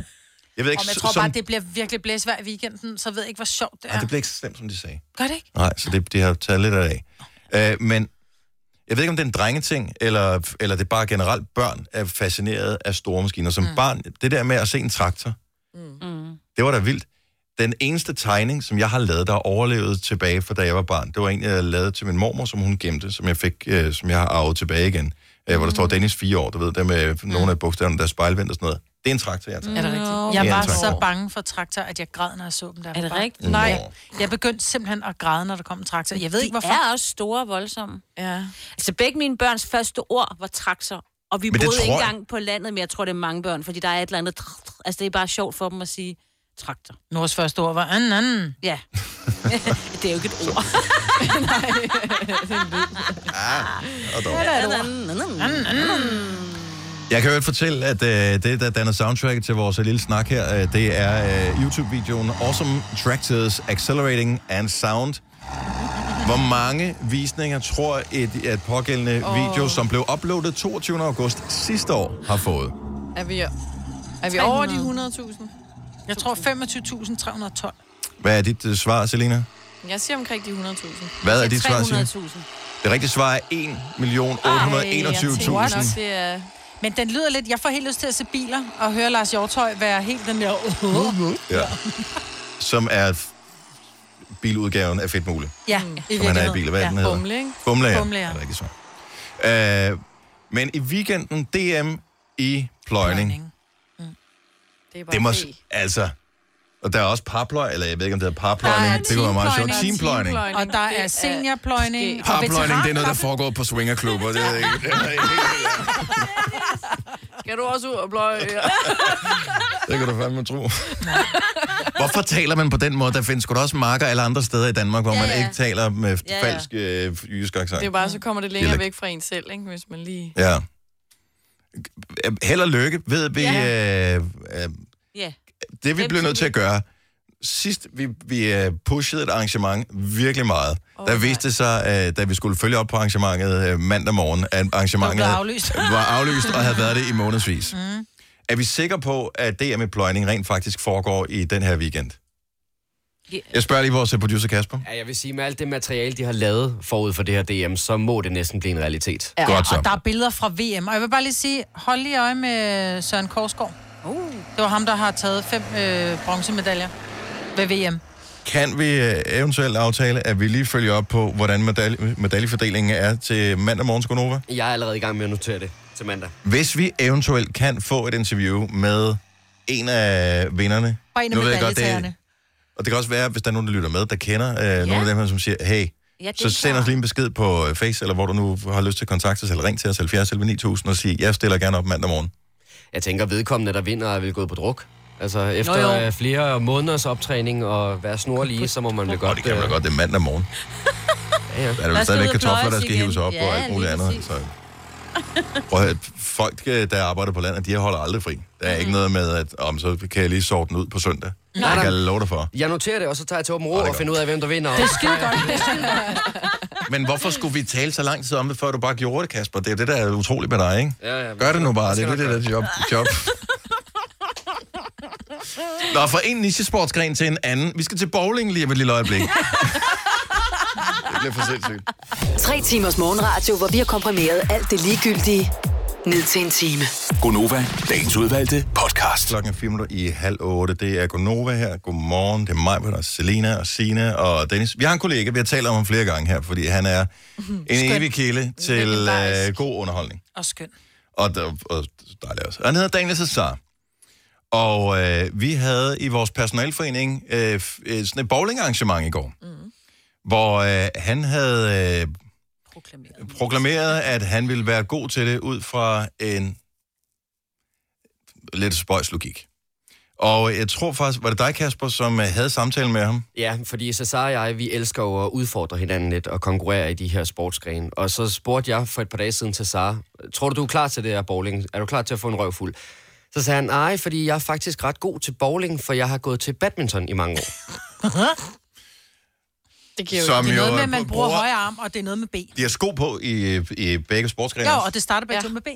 jeg ved ikke, Og jeg så- tror som, bare, det bliver virkelig blæsvær i weekenden, så ved jeg ikke, hvor sjovt det Ej, er. det bliver ikke så slemt, som de sagde. Gør det ikke? Nej, så det, de har taget lidt af. Øh, men jeg ved ikke, om det er en drengeting, eller, eller det er bare generelt børn er fascineret af store maskiner. Som mm. barn, det der med at se en traktor, Mm. det var da vildt. Den eneste tegning, som jeg har lavet, der overlevede tilbage fra da jeg var barn, det var en, jeg lavede til min mormor, som hun gemte, som jeg fik, øh, som jeg har arvet tilbage igen. Øh, hvor der Mm. står Dennis 4 år, du ved, der med nogle af bogstaverne, der er spejlvendt og sådan noget. Det er en traktor, jeg har taget. Er det rigtigt? Ja, Jeg var tak. så bange for traktor, at jeg græd, når jeg så dem der. Er det rigtigt? Nej, jeg begyndte simpelthen at græde, når der kom en traktor. Jeg ved De ikke, hvorfor. er også store og voldsomme. Ja. Altså begge mine børns første ord var trakser. Og vi Men det boede ikke tror jeg- engang på landet, men jeg tror, det er mange børn, fordi der er et eller andet... tr- Altså, det er bare sjovt for dem at sige traktor. Nors første ord var anden, anden. Ja. det er jo ikke et ord. Og dog. Nej. Jeg kan jo fortælle, at øh, det, der danner soundtracket til vores lille snak her, øh, det er øh, YouTube-videoen Awesome Tractors Accelerating and Sound. Hvor mange visninger tror et, at pågældende oh. video, som blev uploadet 22. august sidste år, har fået? Er vi, er vi over de 100.000? Jeg tror 25.312. Hvad er dit øh, svar, Selina? Jeg siger omkring de 100.000. Hvad er dit svar, Signe? 300.000. Det rigtige svar er 1.821.000. er... Men den lyder lidt... Jeg får helt lyst til at se biler og høre Lars Hjortøj være helt den der... Uh-huh. Ja. Som er f- biludgaven af Fedt Muligt. Ja, Mm. i Som han er i biler. Hvad er den hedder? Bumle, ikke? Bumle, ja. Bumle, ja. Det er rigtig svært. Øh, men i weekenden DM i pløjning. Det, er Det må, s- altså... Og der er også parpløj, eller jeg ved ikke, om det hedder parpløjning. Det kunne være meget sjovt. Teampløjning. Og der er øh, seniorpløjning. og Parpløjning, det er noget, der veteranpløjning. foregår på swingerklubber. Det er ikke, det er ikke, Skal du også ud og bløje? det kan du fandme tro. Hvorfor taler man på den måde? Der findes sgu da også marker alle andre steder i Danmark, hvor Ja, man ja. ikke taler med Ja, ja. falsk øh, jysk accent. Det er bare, så kommer det længere Dialekt. væk fra en selv, ikke? Hvis man lige... Ja. øh, Held og lykke, ved vi... Ja. Ja. Øh, øh, Ja. det vi blev nødt til at gøre, sidst vi, vi øh, pushede et arrangement virkelig meget, oh, der viste det sig, øh, da vi skulle følge op på arrangementet øh, mandag morgen, at arrangementet Det var aflyst. var aflyst og havde været det i månedsvis. Mm. Er vi sikre på, at DM i pløjning rent faktisk foregår i den her weekend? Yeah. Jeg spørger lige vores øh, producer Kasper. Ja, jeg vil sige, med alt det materiale, de har lavet forud for det her DM, så må det næsten blive en realitet. Ja, og der er billeder fra VM. Og jeg vil bare lige sige, hold lige øje med Søren Korsgaard. Uh. Det var ham, der har taget fem øh, bronzemedaljer ved VM. Kan vi øh, eventuelt aftale, at vi lige følger op på, hvordan medal- medaljefordelingen er til mandag morgens Gonova? Jeg er allerede i gang med at notere det til mandag. Hvis vi eventuelt kan få et interview med en af vinderne. Og en af Nu ved jeg godt, det er- medaljetagerne. Og det kan også være, hvis der er nogen, der lytter med, der kender øh, ja. nogle af dem her, som siger, hey, Ja, ja, det er så send klart. os lige en besked på øh, Face, eller hvor du nu har lyst til at kontakte os, eller ring til os 70 11 9000 og sig, jeg stiller gerne op mandag morgen. Jeg tænker, vedkommende, der vinder, er vel gået på druk. Altså, efter jo. øh, flere måneders optræning og være snorlige, så må man vel godt... øh, Det kan man da godt, det er mandag morgen. Ja, ja. Der er jo stadigvæk kartofler, der skal hives op ja, og alt muligt andet. Så. Prøv at høre, folk, øh, der arbejder på landet, de holder aldrig fri. Der er ikke noget med, at om så kan jeg lige sove den ud på søndag. Nej, Nej, det nej. kan jeg love dig for. Jeg noterer det, og så tager jeg til Åben Rå og finder ud af, hvem der vinder. Det er skidegodt. Det er Men hvorfor skulle vi tale så lang tid om det, før du bare gjorde det, Kasper? Det er jo det, der er utroligt med dig, ikke? Ja, ja, Gør det nu bare, Jeg det skal er det, nok der gøre er dit job. job. Nå, fra en nichesportsgren til en anden. Vi skal til bowling lige om et lille øjeblik. det bliver for sindssygt. Tre timers morgenradio, hvor vi har komprimeret alt det ligegyldige ned til en time. Gonova, dagens udvalgte podcast. Klokken er fire minutter i halv otte. Det er Gonova her. Godmorgen. Det er mig, der er Selena og Sina og Dennis. Vi har en kollega, vi har talt om ham flere gange her, fordi han er Mhm. en evig kilde til øh, god underholdning. Og skøn. Og, der, og dejlig også. Han hedder Daniel Cesar. Og øh, vi havde i vores personalforening øh, f- øh, sådan et bowlingarrangement i går, mm. Mhm. hvor øh, han havde øh, proklameret. proklameret, at han ville være god til det ud fra en lidt spøjs logik. Og jeg tror faktisk, var det dig, Kasper, som øh, havde samtalen med ham? Ja, fordi Cesar og jeg, vi elsker jo at udfordre hinanden lidt og konkurrere i de her sportsgrene. Og så spurgte jeg for et par dage siden Cesar, tror du, du er klar til det her bowling? Er du klar til at få en røvfuld? Så sagde han, nej, fordi jeg er faktisk ret god til bowling, for jeg har gået til badminton i mange år. Det giver jo- Som det er jo noget med, er- at man bruger, bruger- højre arm, og det er noget med B. De har sko på i, i begge sportsgrene. Jo, og det starter begge ja. med B.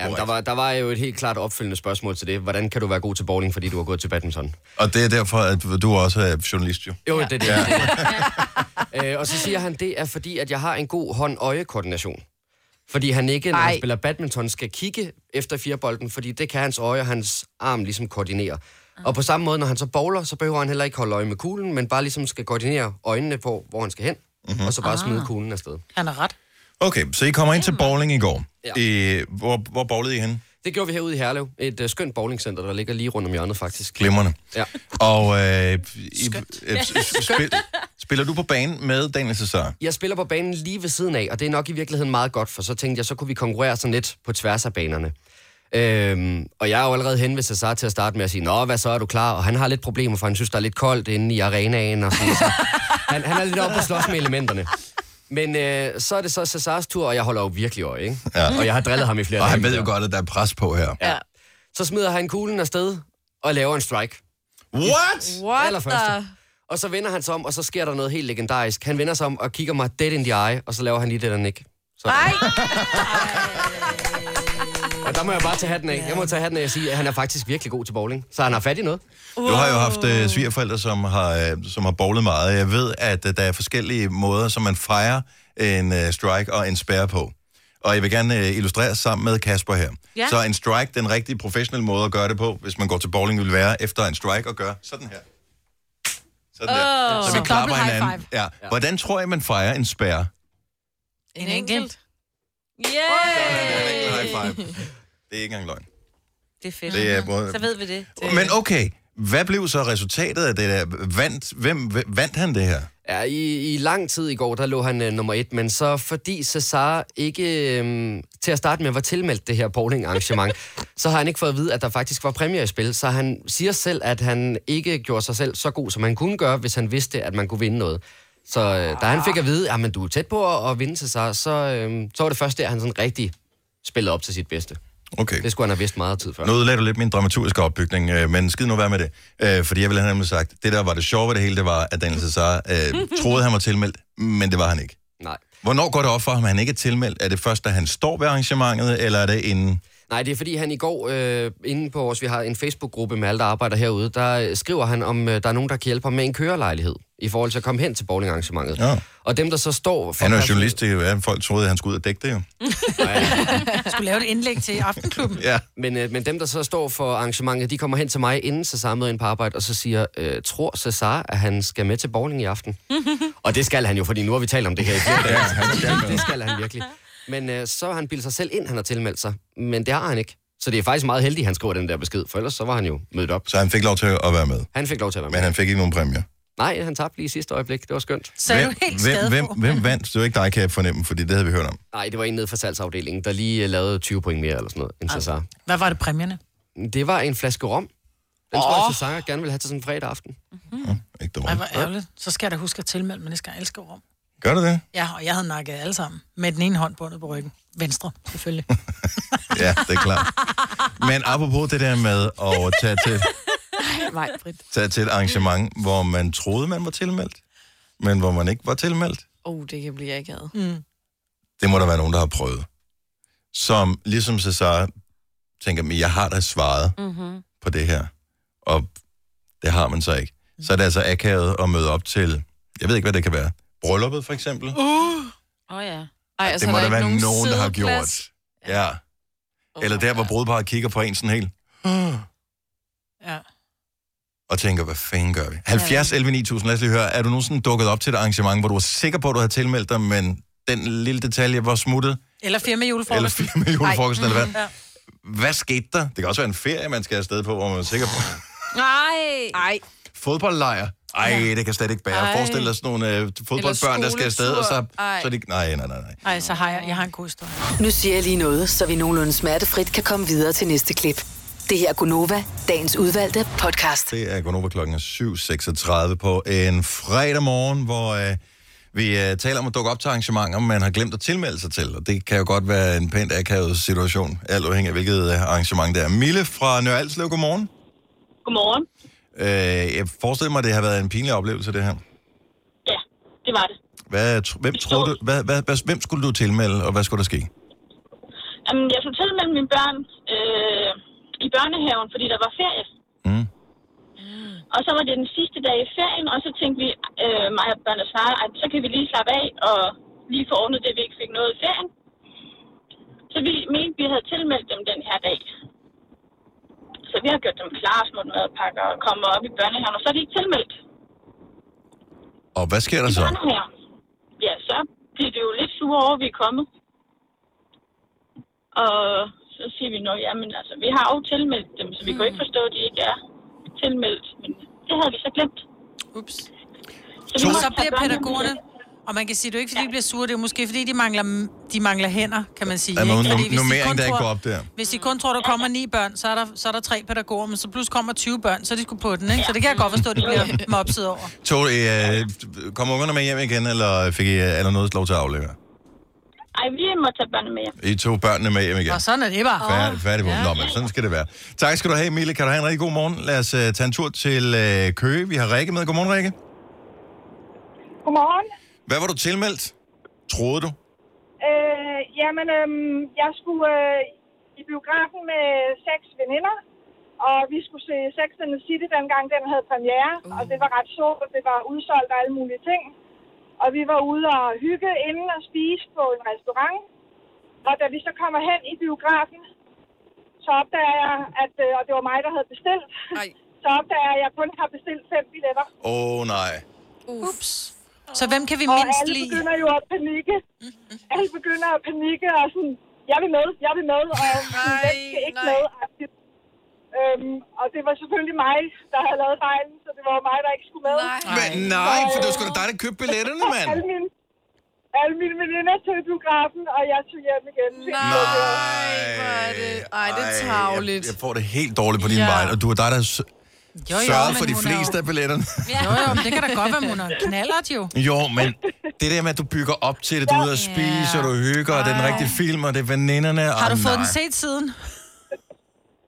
Ja, men der, var, der var jo et helt klart opfølgende spørgsmål til det. Hvordan kan du være god til bowling, fordi du har gået til badminton? Og det er derfor, at du også er journalist, jo. Jo, det er det. Ja. øh, og så siger han, det er fordi, at jeg har en god hånd-øje-koordination. Fordi han ikke, når han Ej. spiller badminton, skal kigge efter firebolden, fordi det kan hans øje og hans arm ligesom koordinere. Ah. Og på samme måde, når han så bowler, så behøver han heller ikke holde øje med kuglen, men bare ligesom skal koordinere øjnene på, hvor han skal hen, mm-hmm. og så bare smide kuglen afsted. Han er ret. Mhm. Okay, så I kommer ind til bowling i går. Ja. I, hvor, hvor bowlede I henne? Det gjorde vi herude i Herlev, et uh, skønt bowlingcenter, der ligger lige rundt om hjørnet faktisk. Glimrende. Ja. Og øh, I, øh, s- s- spil, spiller du på banen med Daniel Cesar? Jeg spiller på banen lige ved siden af, og det er nok i virkeligheden meget godt, for så tænkte jeg, så kunne vi konkurrere sådan lidt på tværs af banerne. Øhm, og jeg er jo allerede hen ved Cesar til at starte med at sige, Nå, hvad så, er du klar? Og han har lidt problemer, for han synes, der er lidt koldt inde i arenaen. Og sådan, så han, han er lidt oppe på slås med elementerne. Men øh, så er det så Cesars tur, og jeg holder jo virkelig øje, ikke? Ja. Og jeg har drillet ham i flere Og han dage. ved jo godt, at der er pres på her. Ja. Så smider han kuglen afsted og laver en strike. What? What Allerførste. Og så vender han sig om, og så sker der noget helt legendarisk. Han vender sig om og kigger mig dead in the eye, og så laver han lige det der nick. Nej! Og der må jeg bare tage hatten af. Jeg må tage hatten af og sige, at han er faktisk virkelig god til bowling. Så han har fat i noget. Du har jo haft øh, svigerforældre, som har, øh, som har bowlet meget. Jeg ved, at øh, der er forskellige måder, som man fejrer en øh, strike og en spærre på. Og jeg vil gerne øh, illustrere sammen med Kasper her. Ja. Så en strike, den rigtige professionelle måde at gøre det på, hvis man går til bowling, vil være efter en strike og gøre sådan her. Sådan der. Åh. Så Så vi klapper dobbelt high hinanden. Ja. Hvordan tror jeg, man fejrer en spærre? En enkelt. Sådan, Yeah! high five. Det er ikke engang løgn. Det er fedt. Det er både- Så ved vi det. Men okay, hvad blev så resultatet af det der? Vandt, hvem hvem- vandt han det her? Ja, i, i lang tid i går, der lå han øh, nummer et, men så fordi Cesar ikke øh, til at starte med var tilmeldt det her bowling-arrangement, så har han ikke fået at vide, at der faktisk var præmier i spil, så han siger selv, at han ikke gjorde sig selv så god, som han kunne gøre, hvis han vidste, at man kunne vinde noget. Så øh, da han fik at vide, at men du er tæt på at, at vinde Cesar, så, øh, så var det først der, han sådan rigtig spillede op til sit bedste. Okay. Det skulle han have vidst meget tid før. Nu ødelagde du lidt min dramaturgiske opbygning, øh, men skid nu være med det. Øh, fordi jeg ville have nemlig sagt, det der var det sjove ved det hele, det var, at Daniel Cesar øh, troede, han var tilmeldt, men det var han ikke. Nej. Hvornår går det op for ham, at han ikke er tilmeldt? Er det først, da han står ved arrangementet, eller er det inden? Nej, det er fordi han i går, øh, inde på os, vi har en Facebook-gruppe med alle, der arbejder herude, der øh, skriver han, om øh, der er nogen, der kan hjælpe ham med en kørelejlighed, i forhold til at komme hen til bowlingarrangementet. Ja. Og dem, der så står... For Han er jo journalist, det er jo, at folk troede, at han skulle ud og dække det jo. Jeg skulle lave et indlæg til Aftenklubben. Ja. Men, øh, men dem, der så står for arrangementet, de kommer hen til mig, inden Cesar møder ind på arbejde, og så siger, øh, tror Cesar, at han skal med til bowling i aften? og det skal han jo, fordi nu har vi talt om det her i flere dage. det skal han virkelig. Men øh, så har han bildet sig selv ind, han har tilmeldt sig. Men det har han ikke. Så det er faktisk meget heldigt, at han skriver den der besked, for ellers så var han jo mødt op. Så han fik lov til at være med, Han fik lov til at være med. men han fik ikke nogen præmie. Nej, han tabte lige i sidste øjeblik. Det var skønt. hvem, hvem, hvem vandt? Det var ikke dig, kan jeg fornemme, fordi det havde vi hørt om. Nej, det var en nede fra salgsafdelingen, der lige øh, lavede 20 point mere eller sådan noget, end Cesar. Hvad var det præmierne? Det var en flaske rom. Den tror jeg, Cesar gerne vil have til sådan en fredag aften. Mm, Ej, hvor ærgerligt. Så skal jeg da huske at tilmelde mig næste gang. Jeg elsker rum. Gør du det? Ja, og jeg havde nakket alle sammen. Med den ene hånd bundet på ryggen. Venstre, selvfølgelig. Ja, det er klart. Men apropos det der med at tage til, Nej, Britt. tage til et arrangement, hvor man troede, man var tilmeldt, men hvor man ikke var tilmeldt, Oh, det kan blive akavet. Mm. det må der være nogen, der har prøvet. Som ligesom Cesar tænker, men jeg har da svaret Mm-hmm. på det her, og det har man så ikke. Så er det altså akavet at møde op til, jeg ved ikke, hvad det kan være, brylluppet for eksempel. Uh. Åh oh, ja. Ej, det må der være nogen, der har gjort. Ja. Eller der, hvor brudeparret kigger på en sådan helt, Mm. Ja. og tænker, hvad fanden gør vi? 70 11 9000, lad os lige høre. Er du nogensinde dukket op til et arrangement, hvor du var sikker på, at du havde tilmeldt dig, men den lille detalje var smuttet? Eller firma Eller julefrokosten. firma julefrokosten, eller hvad? Ja. Hvad skete der? Det kan også være en ferie, man skal afsted på, hvor man er sikker på. Nej. Nej. Fodboldlejr. Ej, det kan slet ikke bære. Ej. Forestil dig sådan nogle øh, fodboldbørn, der skal afsted, og så... Ej. så er de, nej, nej, nej, nej. Ej, så har jeg, jeg har en god historie. Nu siger jeg lige noget, så vi nogenlunde smertefrit kan komme videre til næste klip. Det her er Gunova, dagens udvalgte podcast. Det er Gunova klokken er 7.36 på en fredag morgen, hvor øh, vi øh, taler om at dukke op til arrangementer, man har glemt at tilmelde sig til. Og det kan jo godt være en pænt akavet situation, alt afhængig af hvilket øh, arrangement det er. Mille fra Nørre Alslev, godmorgen. Godmorgen. Øh, jeg forestiller mig, at det har været en pinlig oplevelse, det her. Det var det. Hvad, tr- hvem, tror du, hvad, hvad, hvad, hvem skulle du tilmelde, og hvad skulle der ske? Jamen, jeg skulle tilmelde mine børn øh, i børnehaven, fordi der var ferie. Mm. Og så var det den sidste dag i ferien, og så tænkte vi, øh, mig og børn og far, at så kan vi lige slappe af og lige få ordnet det, vi ikke fik noget i ferien. Så vi mente, vi havde tilmeldt dem den her dag. Så vi har gjort dem klar, smurt madpakker og kommer op i børnehaven, og så er de ikke tilmeldt. Og hvad sker der så? Børnehaven. Ja, så bliver de jo lidt sure over, at vi er kommet. Og så siger vi, at jamen, altså, vi har jo tilmeldt dem, så vi mm. kan jo ikke forstå, at de ikke er tilmeldt. Men det havde vi så glemt. Ups. Så, Så, så bliver pædagogerne... Og man kan sige, det er jo ikke, fordi de bliver sure, det er jo måske, fordi de mangler, de mangler hænder, kan man sige. Der er ikke? noget Fordi num- hvis de kun nummering, der ikke tror- går op der. Hvis de kun tror, der kommer ni børn, så er der, så er der tre pædagoger, men så pludselig kommer 20 børn, så er de skulle på den, ikke? Så det kan jeg godt forstå, at de bliver mopset over. Tog, I, øh, kom ungerne med hjem igen, eller fik I øh, eller noget lov til at aflevere? Ej, vi må tage børnene med hjem. I tog børnene med hjem igen. Og sådan er det bare. Færdig, færdig på. Nå, men sådan skal det være. Tak skal du have, Mille. Kan du have en rigtig god morgen? Lad os uh, tage en tur til uh, Køge. Vi har Rikke med. Godmorgen, Rikke. Godmorgen. Hvad var du tilmeldt? Troede du? Øh, jamen, øh, jeg skulle øh, i biografen med seks veninder, og vi skulle se Sex and the City, dengang den havde premiere, og det var ret sjovt, det var udsolgt og alle mulige ting. Og vi var ude og hygge inden og spise på en restaurant, og da vi så kommer hen i biografen, så opdager jeg, at, øh, og det var mig, der havde bestilt, Ej. så opdager jeg, at jeg kun har bestilt fem billetter. Åh, oh, nej. Ups. Så hvem kan vi og mindst alle lide? Mm-hmm. begynder jo at panikke. Alle begynder at panikke og sådan, jeg vil med, jeg vil med, og sådan, hvem skal ikke med? agtigt. Øhm, og det var selvfølgelig mig, der havde lavet fejlen, så det var jo mig, der ikke skulle med. Nej, Men nej, for det var sgu da dig, der købte billetterne, mand. alle, mine, alle mine veninder tog i biografen, og jeg tog hjem igen. Nej, hvor er det... Ej, det er Jeg, tavligt. jeg får det helt dårligt på din Ja. ja. vej, og du er dig, der s- Jo, jo, sørgede men for de hun er jo- fleste af billetterne. Jo, jo, men det kan da godt være, hun er knallert jo. Jo, men det der med, at du bygger op til det, du er ude at spise, og du hygger, og det er den rigtige film, og det er veninderne. Har du Åh, fået nej. den set siden?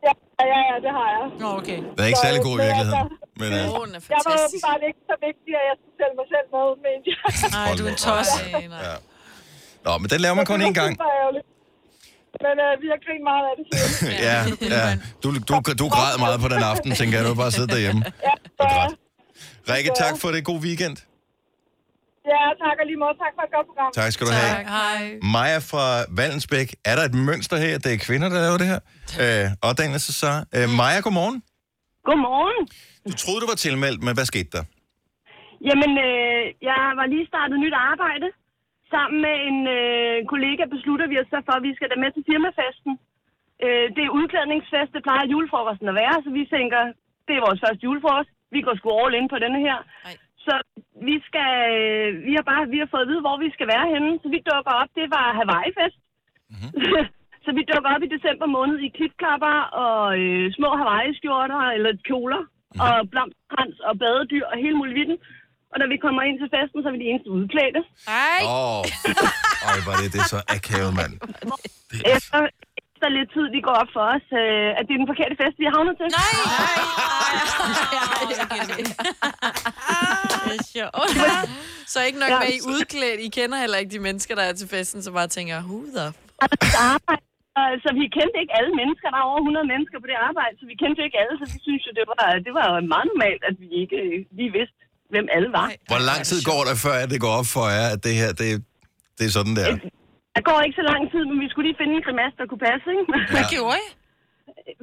Ja, ja, ja, det har jeg. Nå, okay. Den er ikke særlig god i virkeligheden. Men, øh, jeg var åbenbart ikke så vigtig, at jeg skulle tælle mig selv med, men jeg... Nej, du er en tos. ja. Nå, men den laver man kun én gang. Men øh, vi har grint meget af det siden. ja, ja. Du, du, du græd meget på den aften, tænker jeg. Du har bare siddet derhjemme og græd. Rikke, tak for det. God weekend. Ja, tak og lige måde. Tak for et godt program. Tak skal du have. Tak, hej. Maja fra Valensbæk. Er der et mønster her? Det er kvinder, der laver det her. Øh, og Daniel Cesar. Øh, Maja, godmorgen. Godmorgen. Du troede, du var tilmeldt, men hvad skete der? Jamen, øh, jeg var lige startet nyt arbejde. Sammen med en øh, kollega beslutter vi os så for, at vi skal da med til firmafesten. Øh, det er udklædningsfest, det plejer julefrokosten at være, så vi tænker, det er vores første julefrokost. Vi går sgu all in på denne her. Ej. Så vi, skal, øh, vi, har bare, vi har fået at vide, hvor vi skal være henne, så vi dukker op. Det var Hawaii-fest. Mm-hmm. så vi dukker op i december måned i klipklapper og øh, små Hawaii-skjorter eller kjoler mm-hmm. og blomsterkrans og badedyr og hele muligheden. Og når vi kommer ind til festen, så er vi de eneste udklædte. Nej. Åh, oh. Ej, hvor er det, det er så akavet, mand. Efter, efter lidt tid, de går op for os, øh, at det er den forkerte fest, vi har havnet til. Nej, nej, Det er sjovt. Så ikke nok med, at I er udklædt. I kender heller ikke de mennesker, der er til festen, så bare tænker, who the arbejde. Og Så vi kendte ikke alle mennesker. Der er over 100 mennesker på det arbejde, så vi kendte jo ikke alle. Så vi synes jo, det var, det var meget normalt, at vi ikke øh, lige vidste, hvem alle var. Hvor lang tid går der, før at det går op for jer, at det her, det, det er sådan der? Der går ikke så lang tid, men vi skulle lige finde en grimas, der kunne passe, ikke? Hvad gjorde I?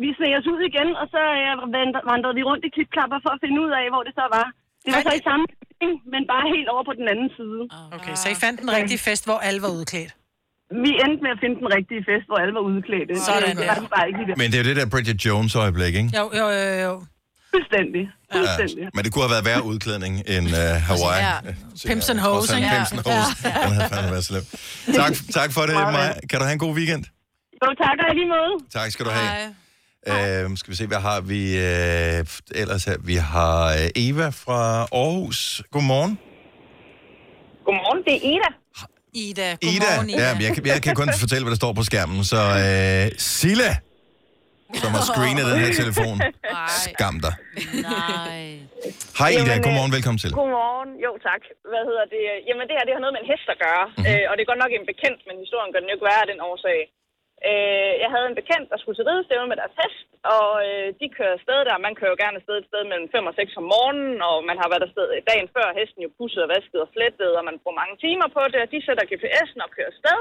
Vi sneg os ud igen, og så øh, vandr- vandrede vi rundt i klipklapper for at finde ud af, hvor det så var. Det var så i samme bygning, men bare helt over på den anden side. Okay, så I fandt den rigtige fest, hvor alle var udklædt? Vi endte med at finde den rigtige fest, hvor alle var udklædte. Sådan det der. var bare ikke lige der. Men det er jo det der Bridget Jones-øjeblik, ikke? Jo, jo, jo, jo. Fuldstændig. Ja, men det kunne have været værre udklædning end uh, Hawaii. Ja. Øh, Pimps and trods hoes, alt ikke? Pimps and hoes. Den havde fandme været slem. Tak, tak for det, Maja. Kan du have en god weekend? Jo, tak og i lige måde. Tak skal du have. Øhm, skal vi se, hvad har vi øh, ellers her? Vi har øh, Eva fra Aarhus. Godmorgen. Godmorgen, det er Ida. Ida, Ida. Ja, men jeg, kan- jeg kan kun fortælle, hvad der står på skærmen. Så øh, Silla, som har screenet den her telefon. Skam dig. Nej. Hej Ida, Jamen, øh, godmorgen, velkommen til. Godmorgen, jo tak. Hvad hedder det? Jamen det her, det har noget med en hest at gøre. Mhm. Mm-hmm. Øh, og det er godt nok en bekendt, men historien gør den jo ikke værre af den årsag. Øh, jeg havde en bekendt, der skulle til ridestævne med deres hest, og øh, de kører afsted der. Man kører jo gerne afsted et sted mellem 5 og 6 om morgenen, og man har været afsted dagen før. Hesten jo pusset og vasket og flettet, og man bruger mange timer på det, og de sætter GPS'en og kører afsted.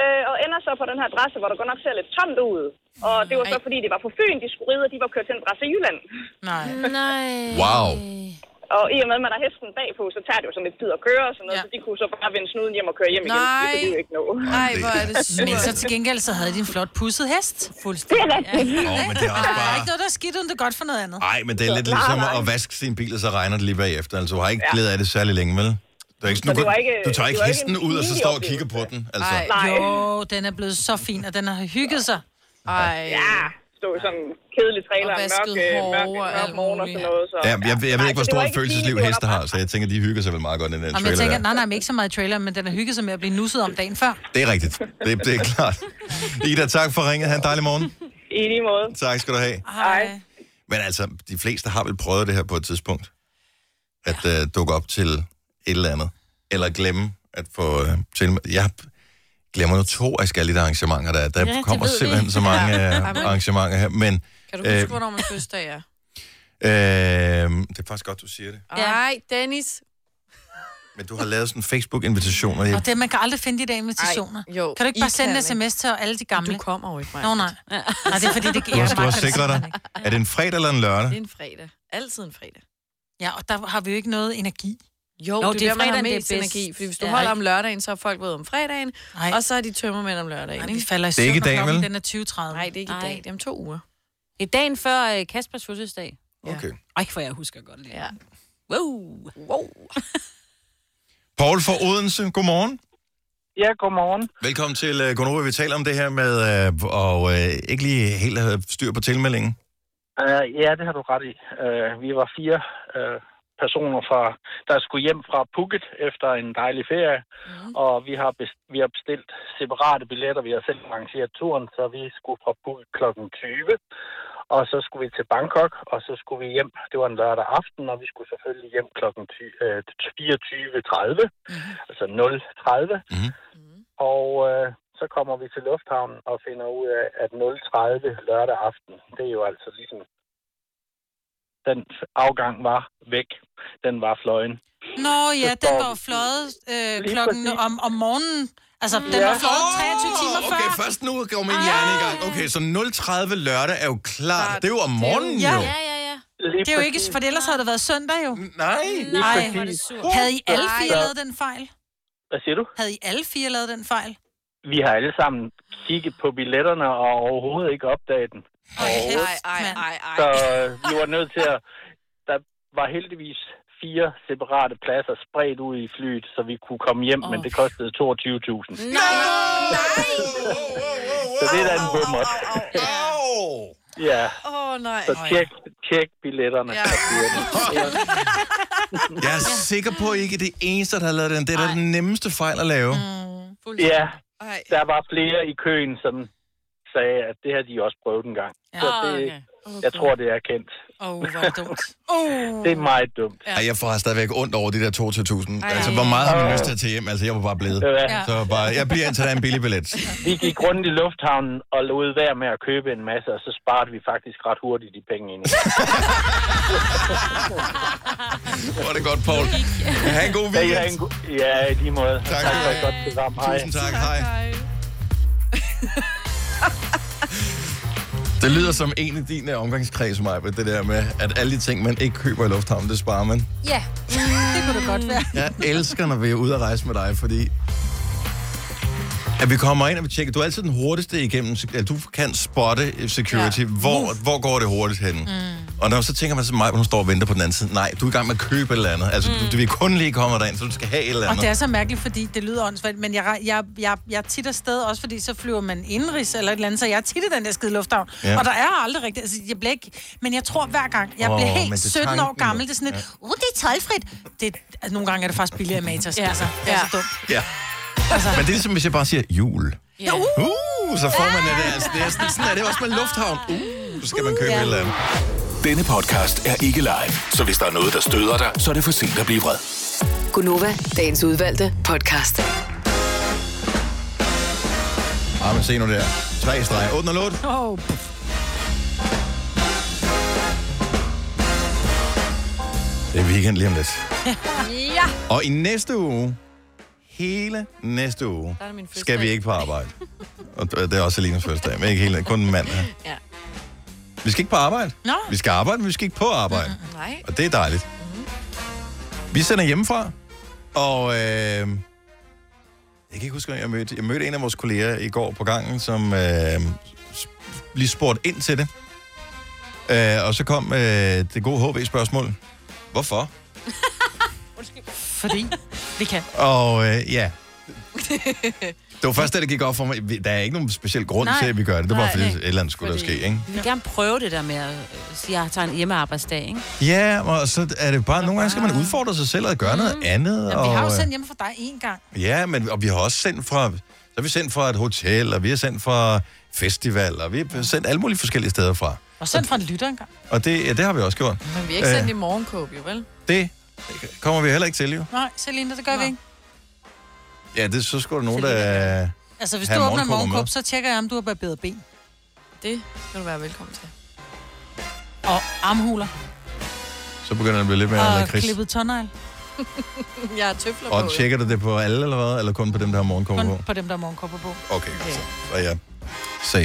Øh, og ender så på den her adresse, hvor der godt nok ser lidt tomt ud. Og det var så, fordi det var på Fyn, de skulle ride, og de var kørt til en adresse i Jylland. Nej. Mm. Nej. Wow. Og i og med, at man har hesten bagpå, så tager det jo sådan lidt tid at køre og sådan noget, ja. så de kunne så bare vende snuden hjem og køre hjem igen. Det kunne de jo ikke nå. Nej, hvor er det surt. Men så til gengæld, så havde de en flot pusset hest. Fuldstændig. Det er rigtigt. Åh, men det er også Der er bare- ikke noget, der er skidt, uden det er godt for noget andet. Nej, men det er lidt Nej, ligesom nej. at vaske sin bil, og så regner det lige bagefter. Altså, du har ikke Ja. glæde af det særlig længe, vel? Du, er ikke, Så sådan, du, det var kan- ikke- du tager det ikke var ikke hesten en ud, og så pinlig står og kigger på den. Altså. Ej, jo, den er blevet så fin, og den har hygget sig. Ej. Ja, stod sådan en kedelig trailer, Og mørk, vasket øh, hår mørk, og mørk alt morgen og sådan noget. Så, Ja, jeg, jeg ved ikke, hvor så det var stort et ikke følelsesliv pinligt, det var heste har, så jeg tænker, de hygger sig vel meget godt i den Jamen, jeg trailer tænker, der. nej, nej, men ikke så meget i trailer, men den har hygget sig med at blive nusset om dagen før. Det er rigtigt. Det, det er klart. Ida, tak for ringet. Ha' en dejlig morgen. I lige måde. Tak skal du have. Hej. Men altså, de fleste har vel prøvet det her på et tidspunkt. At ja. øh, dukke op til et eller andet. Eller glemme at få øh, til... Jeg glemmer nu to af alle de der arrangementer, der er. Der Ja, det kommer ved vi. simpelthen så mange Ja. øh, Ej, men- arrangementer her. Men, Kan du huske, hvornår man fødselsdag er? øh, øh, det er faktisk godt, du siger Ah. det. Nej, Dennis. Men du har lavet sådan en Facebook-invitation, og jeg Og det, man kan aldrig finde de der invitationer. Ej, jo, kan du ikke I bare sende kan en sms til alle de gamle? Du kommer jo ikke, Nå, nej. Nej, det er fordi, det Du jeg har, du har magter det sikret dig. Er det en fredag eller en lørdag? Det er en fredag. Altid en fredag. Ja, og der har vi jo ikke noget energi. Jo, det, det er der, man har mest energi. Fordi hvis du ja. holder om lørdagen, så er folk ved om fredagen, Ej. og så er de tømmermænd om lørdagen. vi falder i Det er ikke i dag, vel? Den er 20.30. Nej, det er ikke i dag. Det er om to uger. Det er dagen før øh, Kaspers fødselsdag. Okay. Ej, for jeg husker godt lige. Ja. Wow. wow. Paul fra Odense, godmorgen. Ja, godmorgen. Velkommen til uh, Gonova. Vi taler om det her med uh, og uh, ikke lige helt have styr på tilmeldingen. Uh, ja, det har du ret i. Uh, vi var fire uh, personer, fra, der skulle hjem fra Phuket efter en dejlig ferie. Mm. Og vi har, best- vi har bestilt separate billetter. Vi har selv arrangeret turen, så vi skulle fra Phuket kl. 20. Og så skulle vi til Bangkok, og så skulle vi hjem. Det var en lørdag aften, og vi skulle selvfølgelig hjem øh, kl. 24.30. Mm. Altså 0.30. Og øh, så kommer vi til lufthavnen og finder ud af, at 0.30 lørdag aften, det er jo altså ligesom... Den afgang var væk. Den var fløjen. Nå ja, står den var vi- jo fløjet øh, Lige klokken præcis. om, om morgenen. Altså, den Ja. var fløjet 23 timer før. Okay, først nu går min hjerne i gang. Okay, så 0.30 lørdag er jo klart. Det er jo om morgenen ja, jo. ja, ja, ja. Lige Det er jo ikke, for ellers havde det været søndag jo. Nej. Nej, præcis. hvor er det surt. Havde I alle fire Nej. lavet den fejl? Hvad siger du? Havde I alle fire lavet den fejl? Vi har alle sammen kigget på billetterne og overhovedet ikke opdaget den. Nej, nej, nej. Så øh, vi var nødt til at... Der var heldigvis fire separate pladser spredt ud i flyet, så vi kunne komme hjem, oh. men det kostede 22.000. Så det er da en bummer. Ja, Åh, oh, nej. så tjek, tjek billetterne. Ja. Jeg er sikker på, at I ikke er det eneste, der har lavet den. Det er da den nemmeste fejl at lave. Mm. Ja, der var flere i køen, som sagde, at det har de også prøvet en gang. Så Ah, det, okay. jeg tror, det er kendt. Åh, oh, hvor er det dumt. Det er meget dumt. Ja. Ej, jeg får stadigvæk ondt over de der 2-1000. Ej. Altså, hvor meget har man Åh. lyst til at tage hjem? Altså, jeg var bare blevet. Ja. Så bare, jeg bliver indtil der er en billig billet. Vi gik rundt i lufthavnen og lod være med at købe en masse, og så sparede vi faktisk ret hurtigt de penge ind. Hvor er det godt, Paul. Ha' en god weekend. Ja, en go- ja i lige måde. Tak, tak for et godt program. Hej. Tusind tak. Hej. Det lyder som en af dine omgangskreds, Maja, det der med, at alle de ting, man ikke køber i lufthavnen, det sparer man. Ja, det kunne det godt være. Jeg elsker, når vi er ude at rejse med dig, fordi at vi kommer ind og vi tjekker. Du er altid den hurtigste igennem. At du kan spotte security. Ja. Hvor, Uh. hvor går det hurtigt hen? Mm. Og når så tænker man så meget, hun står og venter på den anden side. Nej, du er i gang med at købe et eller andet. Altså, mm. du, vi er kun lige kommet derind, så du skal have et eller Og andet. det er så mærkeligt, fordi det lyder åndssvagt, men jeg, jeg, jeg, jeg er tit afsted, også fordi så flyver man indrigs eller et eller andet, så jeg er tit i den der skide lufthavn. Ja. Ja. Og der er aldrig rigtigt, altså jeg bliver ikke, men jeg tror hver gang, jeg Åh, oh, bliver men helt det er 17 år tanken, gammel, det er sådan et, uh, det er tolvfrit. Det, altså, nogle gange er det faktisk billigere Matas, ja. altså, det er ja. så dumt. Ja. Men det er ligesom, hvis jeg bare siger jul. Altså. Ja. Uh, så får man det der. Altså, det er sådan, sådan er det også med lufthavn. Uh, så skal man købe ja. et eller andet. Denne podcast er ikke live, så hvis der er noget, der støder dig, så er det for sent at blive vred. Gunova, dagens udvalgte podcast. Ah, men se nu der. Tre streger. 8 og 8. Oh. Det er weekend lige om lidt. ja. Og i næste uge, hele næste uge, Der er det min skal vi ikke på arbejde. Og det er også Alinas første dag, men ikke hele, kun mandag. Ja. Vi skal ikke på arbejde. Nå. Vi skal arbejde, men vi skal ikke på arbejde. Nej. Mm-hmm. Og det er dejligt. Vi sender hjemmefra, og øh, jeg kan ikke huske, hvem jeg mødte. Jeg mødte en af vores kolleger i går på gangen, som øh, s- lige spurgte ind til det. Øh, og så kom øh, det gode HV-spørgsmål. Hvorfor? Fordi vi kan. Og øh, ja, det var først, da det gik op for mig. vi- Der er ikke nogen speciel grund Nej. til, at vi gør det. Det var Nej, fordi nej. et eller andet skulle der ske, ikke? Jeg vil gerne prøve det der med at øh, sige, at jeg tager en hjemmearbejdsdag, ikke? Ja, og så er det bare, nogle gange skal man udfordre sig selv og gøre noget andet. Mm. Jamen, og, vi har jo øh, sendt hjemme for dig én gang. Ja, men og vi har også sendt fra, så er vi sendt fra et hotel, og vi har sendt fra festival, og vi har sendt alle mulige forskellige steder fra. Og sendt fra en lytter engang. Og det, ja, det har vi også gjort. Men vi er ikke Øh, sendt i morgenkåb, jo vel? Det kommer vi heller ikke til, jo. Nej, Selina, det gør vi ikke. Ja, det, så skulle der nogen, der... Altså, hvis have du åbner en morgenkåber med. morgenkåb, så tjekker jeg, om du har barberet ben. Det skal du være velkommen til. Og armhuler. Så begynder det at blive lidt mere og lakrids. klippet tånegl. jeg er tøfler Og tjekker du det på alle, eller hvad? Eller kun på dem, der har morgenkommer på? Kun på dem, der har morgenkåber på. Okay, godt så. Så er jeg safe.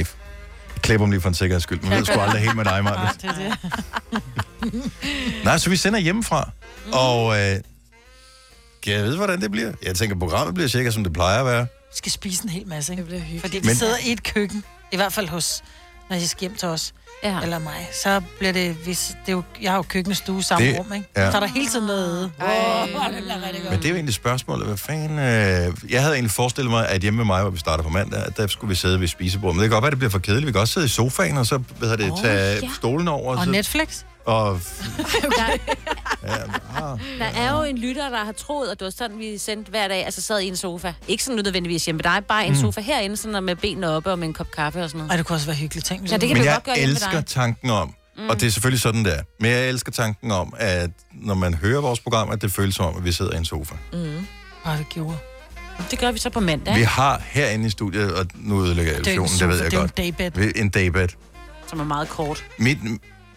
Jeg klipper dem lige for en sikkerheds skyld. Man ved sgu aldrig helt med dig, Martin. Nej, det er det. Nej, så vi sender hjemmefra. Og øh, kan jeg vide, hvordan det bliver? Jeg tænker, programmet bliver cirka, som det plejer at være. Vi skal spise en hel masse, ikke? Det bliver hyggeligt. Fordi vi Men- Men... sidder i et køkken, i hvert fald hos, når jeg skal hjem til os, ja. eller mig, så bliver det, hvis, det er jo, jeg har jo køkkenstue samme Det- rum, ikke? ja. Ja. Så er der hele tiden noget æde. Wow, det bliver rigtig Men det er jo egentlig spørgsmålet, hvad fanden... Øh, jeg havde egentlig forestillet mig, at hjemme med mig, hvor vi starter på mandag, at der skulle vi sidde ved spisebordet. Men det kan godt være, at det bliver for kedeligt. Vi kan også sidde i sofaen, og så hvad hedder det, Åh, oh, tage ja. ja. stolen over. Og så- Netflix? Og Der er jo en lytter, der har troet, at det var sådan, vi sendte hver dag, altså sad i en sofa. Ikke sådan nødvendigvis hjemme med dig, bare en Mm. sofa herinde, sådan med benene oppe og med en kop kaffe og sådan noget. Ej, det kunne også være hyggeligt ting. Ja, det kan men vi jeg godt gøre hjemme med elsker dig. tanken om, mm. og det er selvfølgelig sådan, der. men jeg elsker tanken om, at når man hører vores program, at det føles som om, at vi sidder i en sofa. Mm. Ej, det gjorde. Det gør vi så på mandag. Vi har herinde i studiet, og nu ødelægger jeg Det er jo ikke en illusionen, det, sofa, ved jeg det er jo godt. en daybed. Vi- En daybed. Som er meget kort. Mit,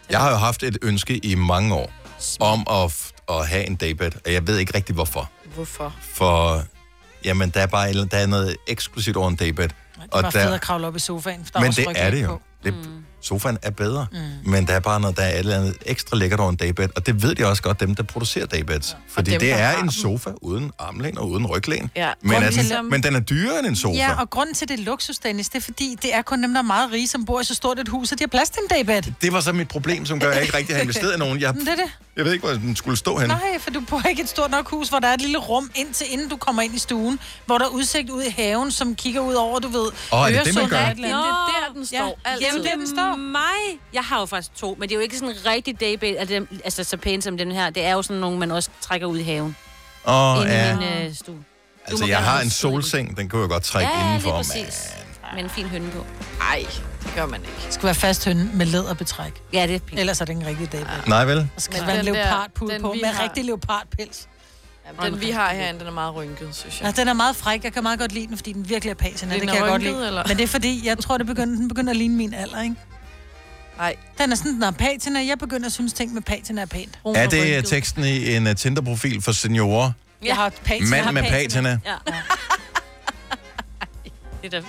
jeg har jo haft et ønske i mange år, om at, f- at have en daybed, og jeg ved ikke rigtig hvorfor. Hvorfor? For, jamen, der er bare et eller- der er noget eksklusivt over en daybed. Det var fedt at kravle op i sofaen, for der men også det ryglæn er det jo. på. Det, Mm. sofaen er bedre. Mm. Mm. Men der er bare noget, der er et eller andet ekstra lækkert over en daybed. Og det ved de også godt, dem der producerer daybeds. Ja. Fordi dem, det der er har en dem. sofa uden armlæn og uden ryglæn. Ja. Men, Grunden er til, at- den, men den er dyrere end en sofa. Ja, og grunden til det er luksus, Dennis, det er fordi, det er kun dem, der er meget rige, som bor i så stort et hus, at de har plads til en daybed. Det var så mit problem, som gør, at jeg ikke rigtig har investeret i nogen. Jeg, Men det er det. jeg ved ikke, hvor den skulle stå henne. Nej, for du bor ikke i et stort nok hus, hvor der er et lille rum indtil inden du kommer ind i stuen, hvor der er udsigt ud i haven, som kigger ud over, du ved, Åh, er det det, man gør? eller andet. Nå, det er der, den står altid. Jamen, det er den står. Altså, mig. Jeg har jo faktisk to, men det er jo ikke sådan en rigtig daybait, altså, dem- altså så pæne som den her. Det er jo sådan nogle, man også trækker ud i haven. Åh, Inde i ja. min øh, stue. Altså, jeg har en solseng, den kunne jeg godt trække ja, lige indenfor. præcis. Med en fin hønne på. Nej, det gør man ikke. Det skal være fast hønne med læderbetræk. Ja, det er pænt. Ellers er det ikke en rigtig dag. mand. Nej, vel? Der skal være en den der- leopardpul den på vi med har- rigtig leopardpels. Ja, den vi har herinde, den er meget rynket, synes jeg. Nej, den er meget fræk. Jeg kan meget godt lide den, fordi den virkelig er pæsen. Den Det er kan jeg godt rynket, lide. eller? Eller? Men det er fordi, jeg tror, det begynder, den begynder at ligne min alder, ikke? Nej. Den er sådan, den er patina. Jeg begynder at synes, ting med patina er pænt. Er det øh, teksten i en øh, Tinder-profil for seniorer? Jeg har patina. Mand Jeg har med patina. Ja. Det er da...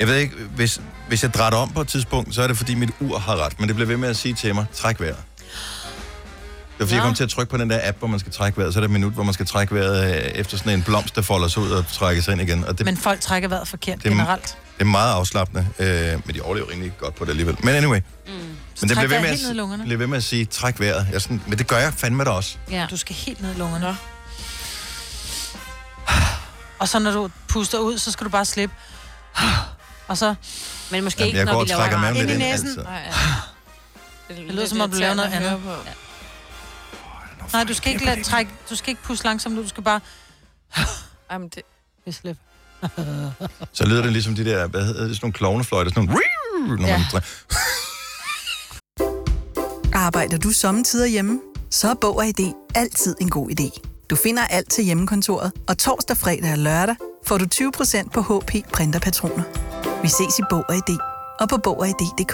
Jeg ved ikke, hvis, hvis jeg drætter om på et tidspunkt, så er det fordi mit ur har ret, men det bliver ved med at sige til mig, træk vejret. Det er fordi, jeg kom til at trykke på den der app, hvor man skal trække vejret, så er der et minut, hvor man skal trække vejret øh, efter sådan en blomst, der folder sig ud og trækker sig ind igen. Og det, Men folk trækker vejret forkert Det er- generelt. det er meget afslappende, øh, men de overlever rimelig godt på det alligevel. Men anyway, men det træk bliver ved, vejret med at, helt ned i lungerne. bliver ved med at sige, træk vejret. Jeg er sådan, men det gør jeg fandme da også. Ja. Du skal helt ned i lungerne. Og så når du puster ud, så skal du bare slippe. Og så... Men måske Jamen, ikke, jeg når går vi og laver trækker maven ind lidt i ind, næsen. altså. Nej, ja. Det, lyder som om, du laver noget andet. Nej, du skal ikke lade trække, du skal ikke puste langsomt nu, du skal bare... Jamen, det... Med slip. Så lyder det ligesom de der, hvad hedder det, sådan nogle klovnefløjter, sådan nogle... Når man Ja. ja. Arbejder du sommetider hjemme? Så er Bog og ID altid en god idé. Du finder alt til hjemmekontoret, og torsdag, fredag og lørdag får du 20% på HP printerpatroner. Vi ses i Bog og ID og på Bog og ID.dk.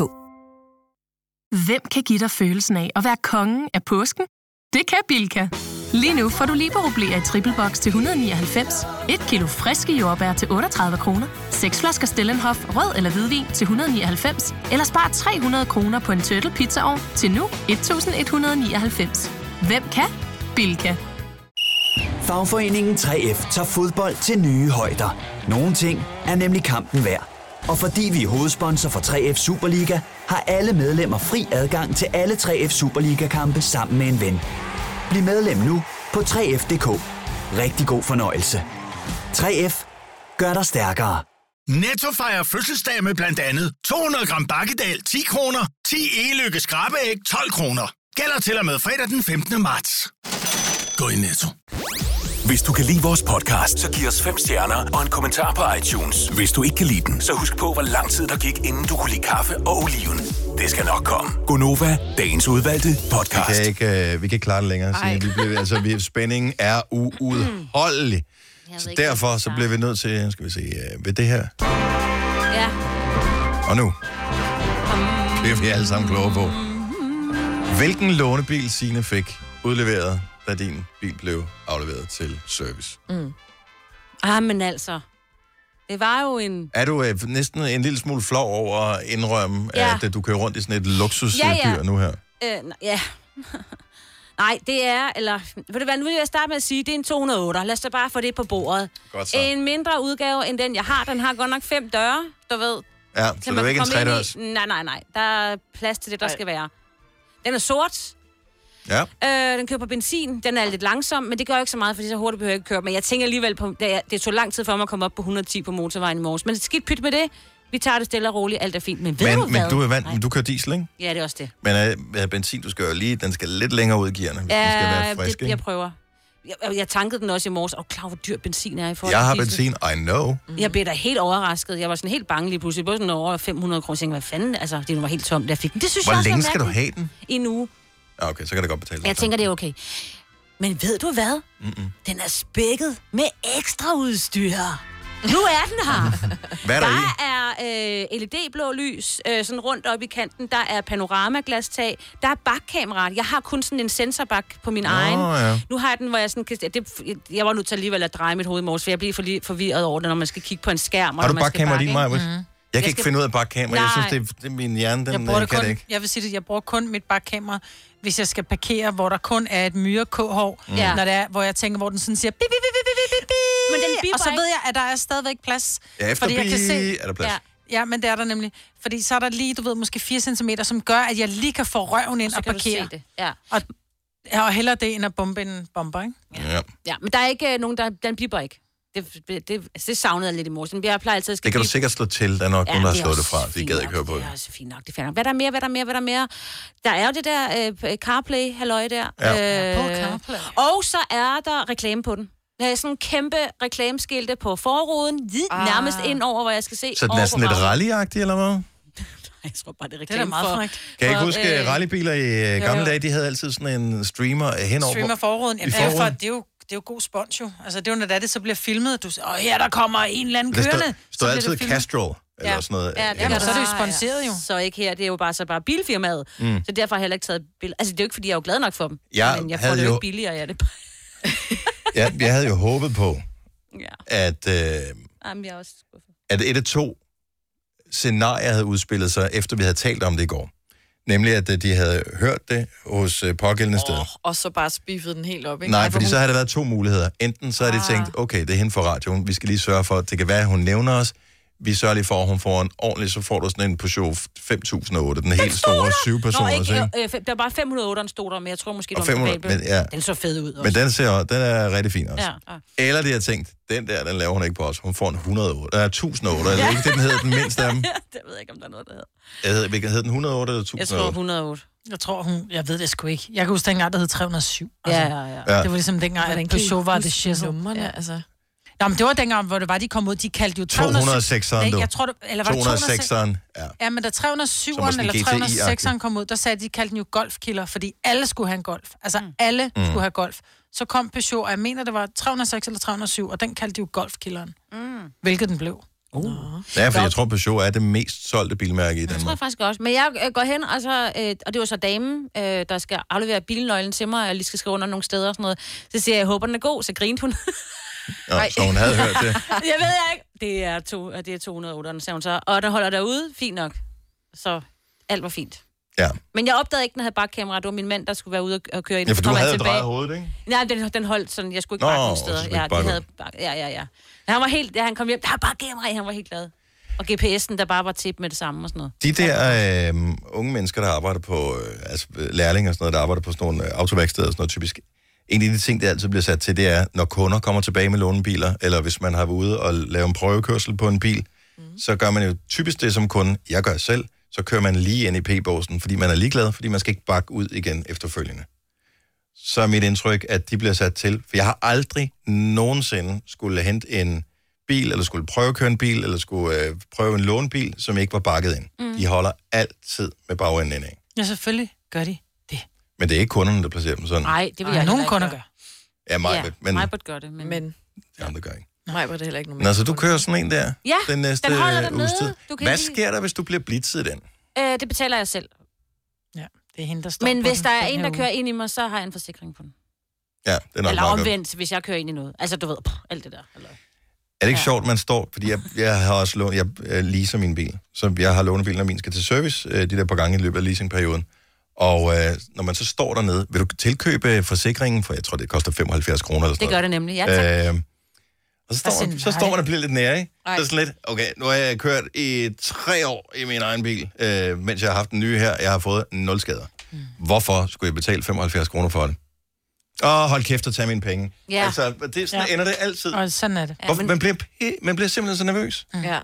Hvem kan give dig følelsen af at være kongen af påsken? Det kan Bilka! Lige nu får du liberobleer i triple box til 199, et kilo friske jordbær til 38 kroner, seks flasker Stellenhof rød eller hvidvin til 199, eller spar 300 kroner på en turtle pizzaovn til nu 1199. Hvem kan? Bilka! Fagforeningen 3F tager fodbold til nye højder. Nogle ting er nemlig kampen værd. Og fordi vi er hovedsponsor for 3F Superliga, har alle medlemmer fri adgang til alle 3F Superliga-kampe sammen med en ven. Bliv medlem nu på 3F.dk. Rigtig god fornøjelse. 3F gør dig stærkere. Netto fejrer fødselsdag med blandt andet 200 gram bakkedal 10 kroner, 10 e-lykke skrabeæg 12 kroner. Gælder til og med fredag den 15. marts. Gå i Netto. Hvis du kan lide vores podcast, så giv os fem stjerner og en kommentar på iTunes. Hvis du ikke kan lide den, så husk på, hvor lang tid der gik, inden du kunne lide kaffe og oliven. Det skal nok komme. Gonova, dagens udvalgte podcast. Vi kan ikke, øh, vi kan ikke klare det længere. Ej. Signe. Vi bliver, altså, vi, spændingen er uudholdelig. Så derfor så bliver vi nødt til, nu skal vi se, øh, ved det her. Ja. Og nu bliver vi alle sammen klogere på. Hvilken lånebil Signe fik udleveret, da din bil blev afleveret til service? Mm. Ah, men altså. Det var jo en... Er du øh, næsten en lille smule flov over at indrømme, Ja. ja. at øh, du kører rundt i sådan et luksusdyr Ja, ja. nu her? Øh, n- ja. Nej, det er, eller... Ved du hvad, nu vil jeg starte med at sige, det er en 208. Lad os da bare få det på bordet. Godt så. En mindre udgave end den, jeg har. Den har godt nok fem døre, du ved. Ja, så det er jo ikke en komme ind i- tredørs. Nej, nej, nej. Der er plads til det, der skal være. Den er sort. Ja. Øh, den kører på benzin. Den er lidt langsom, men det gør ikke så meget, fordi så hurtigt behøver jeg ikke køre. Men jeg tænker alligevel på, det, er- det tog lang tid for mig at komme op på 110 på motorvejen i morges. Men skidt pyt med det. Vi tager det stille og roligt. Alt er fint. Men ved Men, du hvad? men du er vant, men du kører diesel, ikke? Ja, det er også det. Men øh, øh, benzin, du skal jo lige, den skal lidt længere ud i gearne, hvis den skal være frisk, det, jeg ikke? prøver. Jeg, jeg tankede den også i morges. Og klar, hvor dyr benzin er i forhold Jeg har til diesel. Mm. benzin, I know. Jeg blev da helt overrasket. Jeg var sådan helt bange lige pludselig. Både sådan over 500 kroner. Jeg tænkte, hvad fanden? Altså, det var helt tomt, da jeg fik den. Det synes Hvor jeg også er længe skal du mærkeligt. have den? I en uge. Ja, okay, så kan det godt betale sig. Jeg tænker, det er okay. Men ved du hvad? Mm-mm. Den er spækket med ekstra udstyr. Nu er den her. Hvad er der i? Der er øh, LED-blå lys, øh, sådan rundt op i kanten. Der er panoramaglas-tag. Der er bakkameraet. Jeg har kun sådan en sensorbak på min egen. ja. Nu har jeg den, hvor jeg sådan kan... Det, jeg var nødt til alligevel at dreje mit hoved i morges, for jeg blev for lige forvirret over det, når man skal kigge på en skærm. og Har du når man skal bakkamera i bakke, din, ikke? Maja? Mhm. Jeg kan ikke skal- finde ud af bakkamera. Jeg synes, Nej. det, er- det er min hjerne, den jeg jeg bruger kan det det kun, ikke. jeg vil sige det, jeg bruger kun mit bakkamera, hvis jeg skal parkere, hvor der kun er et myre kohår, Mm. mm. Ja. når det er, hvor jeg tænker, hvor den sådan siger, bip, bip, bip, bip, bip, bip, bip, Men den biber og så ved ikke. jeg, at der er stadigvæk plads. Ja, efter fordi jeg kan bi- se, er der plads. Ja. Ja, men det er der nemlig. Fordi så er der lige, du ved, måske 4 cm, som gør, at jeg lige kan få røven ind Så og, kan du parkere. se det, ja. Og, og hellere det, end at bombe en bomber, ikke? Ja. Ja, men der er ikke øh, nogen, der... Den biber ikke. Det, det, det, altså, det savnede jeg lidt i morges. Men Jeg plejer altid at skal Det kan du sikkert slå til. Der er nok Ja, ja, nogen, der har det er slået det også fra. De fint gider nok, ikke høre på Det er det. også fint nok, det er fair nok. Hvad er der mere, hvad er der mere, hvad er der mere? Der er jo det der øh, CarPlay, halløj der. Ja. Øh, CarPlay. Og så er der reklame på den. Der er sådan nogle kæmpe reklameskilte på forruden, vid, ah. nærmest ind over, hvor jeg skal se. Så den over er på sådan lidt bagsiden. rallyagtig, eller hvad? Jeg tror bare, det er da reklame meget for... frækt. Kan jeg ikke for, øh, huske, at rallybiler i øh, jo, gamle jo. dage, de havde altid sådan en streamer øh, henover. Streamer forruden. I Jamen, det, er jo for, forruden. det, er jo, det er jo god spons jo. Altså, det er jo, når det, er det så bliver filmet. Du siger, åh, her der kommer en eller anden Der kørende. stod, Så stod bliver altid det filmet. Castrol, eller sådan noget. øh, Ja, det henover. gør der. jo. Så ikke her, det er jo bare så bare bilfirmaet. Mm. Mm. Så derfor har jeg heller ikke taget billeder. Altså, det er jo ikke, fordi jeg er jo glad nok for dem. Jeg men jeg får havde det jo jo- ikke billigere, jeg er det Ja, jeg havde jo håbet på, Ja. at, øh, Jamen, jeg er også skuffet. at et af to scenarier havde udspillet sig, efter vi havde talt om det i går. Nemlig, at øh, de havde hørt det hos øh, pågældende oh, steder. Og så bare spiffede den helt op, ikke? Nej, Ej, fordi hvor så hun- havde der været to muligheder. Enten så havde de tænkt, okay, det er hende for radioen, vi skal lige sørge for, at det kan være, at hun nævner os. Vi sørger lige for, at hun får en ordentlig, så får du sådan en Peugeot 5008, den helt store Nå, syvpersoners, ikke, ikke? øh, øh, der var 508'eren stod der, men jeg tror måske, Og det var 500, 500, men ja. Den så fed ud også. Men den, ser, den er rigtig fin også. Ja. ja. Ja. Eller de har tænkt, den der, den laver hun ikke på os. Hun får en 108, øh, 1008, eller ikke det, den hedder den mindste af dem. det ved jeg ikke, om der er noget, der hedder. Jeg ved, hvilken hed den, 108 eller 1008? 108. Jeg tror hun, jeg ved det sgu ikke. Jeg kan huske dengang, der hed 307. Ja, ja, ja. Ja. Altså, Det var ligesom dengang, Hvordan at kan I Peugeot var huske det shizzle. numrene, ja. altså. Nå, men det var dengang, hvor det var, de kom ud, de kaldte jo 206'eren, Nej, du. Jeg tror, det, eller var det 206'eren, ja. Ja, men da Så måske 307'eren eller GTI -agtigt. 306'eren kom ud, der sagde de, de kaldte den jo golfkilder, fordi alle skulle have en golf. Altså, mm. alle Mm. mm. skulle have golf. Så kom Peugeot, og jeg mener, det var 306 eller 307, og den kaldte de jo golfkilleren. Mm. Hvilket den blev. Uh. Ja, for jeg tror, Peugeot er det mest solgte bilmærke i Det tror Danmark. jeg faktisk også. Men jeg øh, går hen, og, så, øh, og det var så damen, øh, der skal aflevere bilnøglen til mig, og jeg lige skal skrive under nogle steder og sådan noget. Så siger jeg, jeg håber, den er god, så grinte hun. Nå, så hun havde hørt det. jeg ved jeg ikke. Det er, to, det er 208, sagde hun så. Og den holder derude, fint nok. Så alt var fint. Ja. Men jeg opdagede ikke, den havde bakkamera. Det var min mand, der skulle være ude og- og køre ind. Ja, for du havde jo drejet hovedet, ikke? Nej, den, den holdt sådan, jeg skulle ikke Nå, bakke nogen så skulle steder. du Ja, ikke de bakke. havde, bak- ja, ja, ja. Men Han var helt, da han kom hjem, der er bare kamera i, han var helt glad. Og GPS'en, der bare var tip med det samme og sådan noget. De der øh, unge mennesker, der arbejder på, øh, altså øh, lærlinge og sådan noget, der arbejder på sådan nogle øh, autoværksteder og sådan noget typisk, en af de ting, der altid bliver sat til, det er, når kunder kommer tilbage med lånebiler, eller hvis man har været ude og lave en prøvekørsel på en bil, mm. så gør man jo typisk det som kunde, jeg gør selv, så kører man lige ind i p-båsen, fordi man er ligeglad, fordi man skal ikke bakke ud igen efterfølgende. Så er mit indtryk, at de bliver sat til, for jeg har aldrig nogensinde skulle hente en bil, eller skulle prøvekøre en bil, eller skulle øh, prøve en lånebil, som ikke var bakket ind. Mm. Mm. De holder altid med bagenden indad. Ja, selvfølgelig gør de. Men det er ikke kunderne, der placerer dem sådan. Nej, det vil jeg Nogle kunder gør. Ja, mig, ja, men mig burde gøre det, men... men... de andre gør ikke. Nej, var det heller ikke nogen. Nå, så du kører sådan en der Ja, den næste den holder øh, dig uges nede. tid. Du kan Hvad ikke lige- sker der, hvis du bliver blitzet i den? Øh, det betaler jeg selv. Ja, det er hende, der står Men på hvis den der er den en, her der uge. kører ind i mig, så har jeg en forsikring på den. Ja, det er nok Eller meget godt. omvendt, hvis jeg kører ind i noget. Altså, du ved, pff, alt det der. Eller... Er det ikke ja. sjovt, man står, fordi jeg, jeg har også lånt, jeg øh, leaser min bil. Så jeg har lånet bilen, når min skal til service, øh, de der par gange i løbet af leasingperioden. Og øh, når man så står dernede, vil du tilkøbe forsikringen, for jeg tror, det koster 75 kroner eller sådan Det gør det nemlig, ja tak. noget. Øh, og så står, man, siger så nej. står man og bliver lidt nære, ikke? Ej. Så er sådan lidt, okay, nu har jeg kørt i tre år i min egen bil, øh, mens jeg har haft den nye her. Jeg har fået nul skader. Mm. Hvorfor skulle jeg betale 75 kroner for det? Åh, hold kæft og tag mine penge. Ja. Altså, det, sådan ja. ender det altid. Og sådan er det. Ja, men... man, bliver, p- man bliver simpelthen så nervøs. Ja,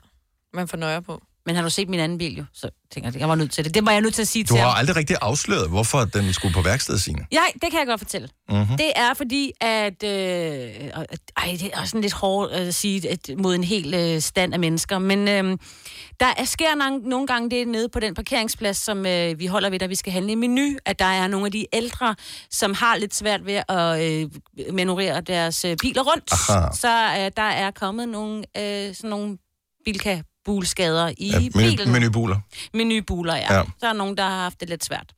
man får nøje på. Men har du set min anden bil jo? Så tænker jeg, jeg var nødt til det. Det var jeg nødt til at sige Du til har ham. aldrig rigtig afsløret, hvorfor den skulle på værkstedet, Signe. Ja, det kan jeg godt fortælle. Mhm. Mm-hmm. Det er fordi, at... Øh, og- at- ej, det er også sådan lidt hårdt at sige at, mod en hel øh, stand af mennesker. Men øh, der er, sker nang, nogle gange det nede på den parkeringsplads, som øh, vi holder ved, da vi skal handle i menu, at der er nogle af de ældre, som har lidt svært ved at øh, manøvrere deres øh, biler rundt. Aha. Så øh, der er kommet nogle, øh, sådan nogle bilka-bulskader i Ja, menu- bilen. menubuler. Menubuler, ja. Ja. ja. Så er nogen, der har haft det lidt svært.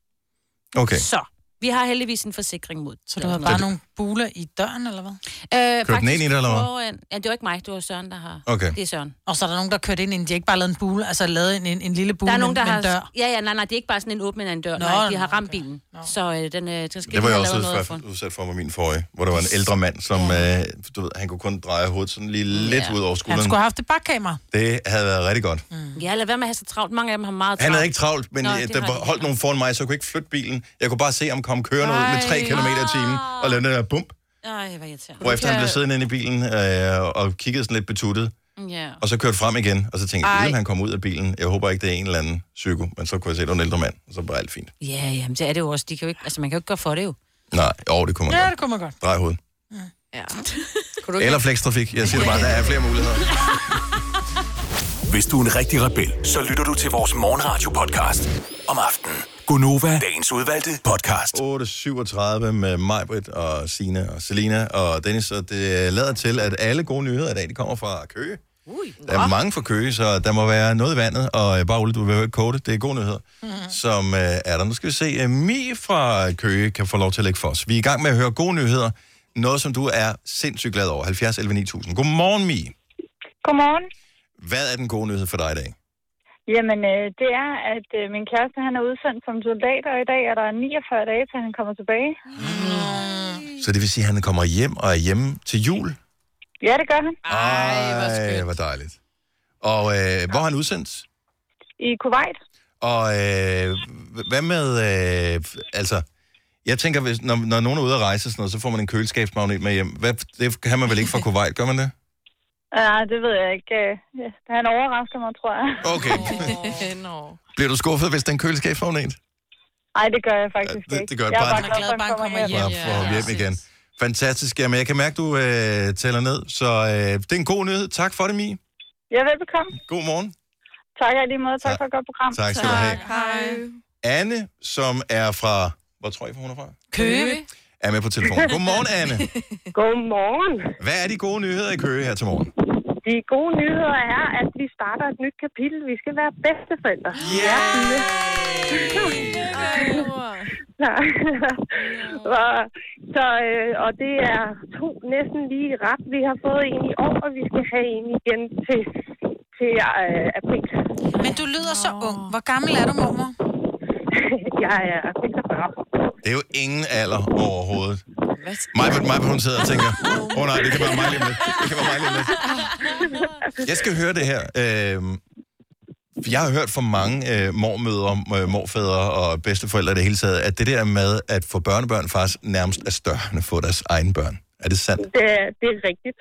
Okay. Så. Vi har heldigvis en forsikring mod. Så du har bare nogle buler i døren, eller hvad? Øh, Kørte den faktisk ind i det, eller hvad? foran- Ja, det var ikke mig, det var Søren, der har... Okay. Det er Søren. Og så er der nogen, der kørte ind, inden de ikke bare lavede en bule, altså lavede en, en, en lille bule der er nogen, der med en har... dør. Ja, ja, nej, nej, det er ikke bare sådan en åbning af en dør. Nå, Nå, nej, de nå, har ramt bilen. Så øh, den øh, den skal Det var de jeg have også lavet noget udsat for. for, udsat for med min forrige, hvor der var en ældre mand, som øh, du ved, han kunne kun dreje hovedet sådan lige lidt ud over Han skulle skulderen. have haft et bakkamera. Det havde været rigtig godt. Ja, lad være med at have så travlt. Mange af dem har meget travlt. Han havde ikke travlt, men Mm. Nå, Nå, det der har var, de. holdt nogen foran mig, så jeg kunne ikke flytte bilen. Jeg kunne bare se ham komme kørende ud med 3 Ej. km i timen og lave den der bump. Ej, hvor irriterende. Hvor efter han blev siddende inde i bilen øh, og kiggede sådan lidt betuttet, Ja. og så kørte frem igen, og så tænkte Ej. jeg, at han kom ud af bilen. Jeg håber ikke, det er en eller anden psyko, men så kunne jeg se, at det var en ældre mand, og så var alt fint. Ja, jamen, det er det jo også. De kan jo ikke, altså, man kan jo ikke gøre for det jo. Nej, jo, det kunne man Ja, godt. det kunne man godt. Drej hovedet. Ja. Eller flekstrafik. Jeg siger det bare, der er flere muligheder. Hvis du er en rigtig rebel, så lytter du til vores morgenradio-podcast om aftenen. Gunova, dagens udvalgte podcast. 8.37 med Majbrit og Sina og Selina og Dennis, og det lader til, at alle gode nyheder i dag, de kommer fra Køge. Ui. Der er mange fra Køge, så der må være noget i vandet, og øh, bare Ole, du vil jo ikke kode det. Det er gode nyheder, mm-hmm. som øh, er der. Nu skal vi se, at Mie fra Køge kan få lov til at lægge for os. Vi er i gang med at høre gode nyheder. Noget, som du er sindssygt glad over. 70 11 9000. Godmorgen, Mie. Godmorgen. Hvad er den gode nyhed for dig i dag? Jamen, øh, det er, at øh, min kæreste han er udsendt som soldat, og i dag er der 49 dage, til han kommer tilbage. Så det vil sige, at han kommer hjem og er hjemme til jul? Ja, det gør han. Ej, hvor, skønt. hvor dejligt. Og øh, hvor er han udsendt? I Kuwait. Og øh, h- hvad med, øh, altså, jeg tænker, hvis, når, når nogen er ude at rejse og sådan noget, så får man en køleskabsmagnet med hjem. Hvad, det kan man vel ikke fra Kuwait, gør man det? Ja, det ved jeg ikke. øh, ja, Han overrasker mig, tror jeg. Okay. no. Bliver du skuffet, hvis den køleskabsmagnet? Ej, det gør jeg faktisk det- ikke. det gør jeg bare- er bare glad for, at han kommer hjem. Ja, for hjem igen. Fantastisk. Jamen, jeg kan mærke, du øh, tæller ned, så øh, det er en god nyhed. Tak for det, Mie. Ja, velbekomme. God morgen. Tak og i lige måde. Tak, Tak. for et godt program. Tak skal du have. Tak. Hej. Anne, som er fra, hvor tror I, hun er fra? Køge. Er med på telefonen. Godmorgen, Anne. Godmorgen. Hvad er de gode nyheder i Køge her til morgen? De gode nyheder er, at vi starter et nyt kapitel. Vi skal være bedsteforældre. Ja! og, så, øh, og det er to næsten lige ret. Vi har fået en i år, og vi skal have en igen til, til øh, april. Men du lyder så ung. Hvor gammel er du, mormor? Jeg er 46. Det er jo ingen alder overhovedet. Majbert, Majbert, hun sidder og tænker, åh oh, nej, det kan være mig lige om lidt. Det kan være mig lige om lidt. Jeg skal høre det her. Øhm, jeg har hørt fra mange øh, mormødre, øh, morfædre og bedsteforældre i det hele taget, at det der med at få børnebørn faktisk nærmest er større end at få deres egne børn. Er det sandt? Det, er- det er rigtigt.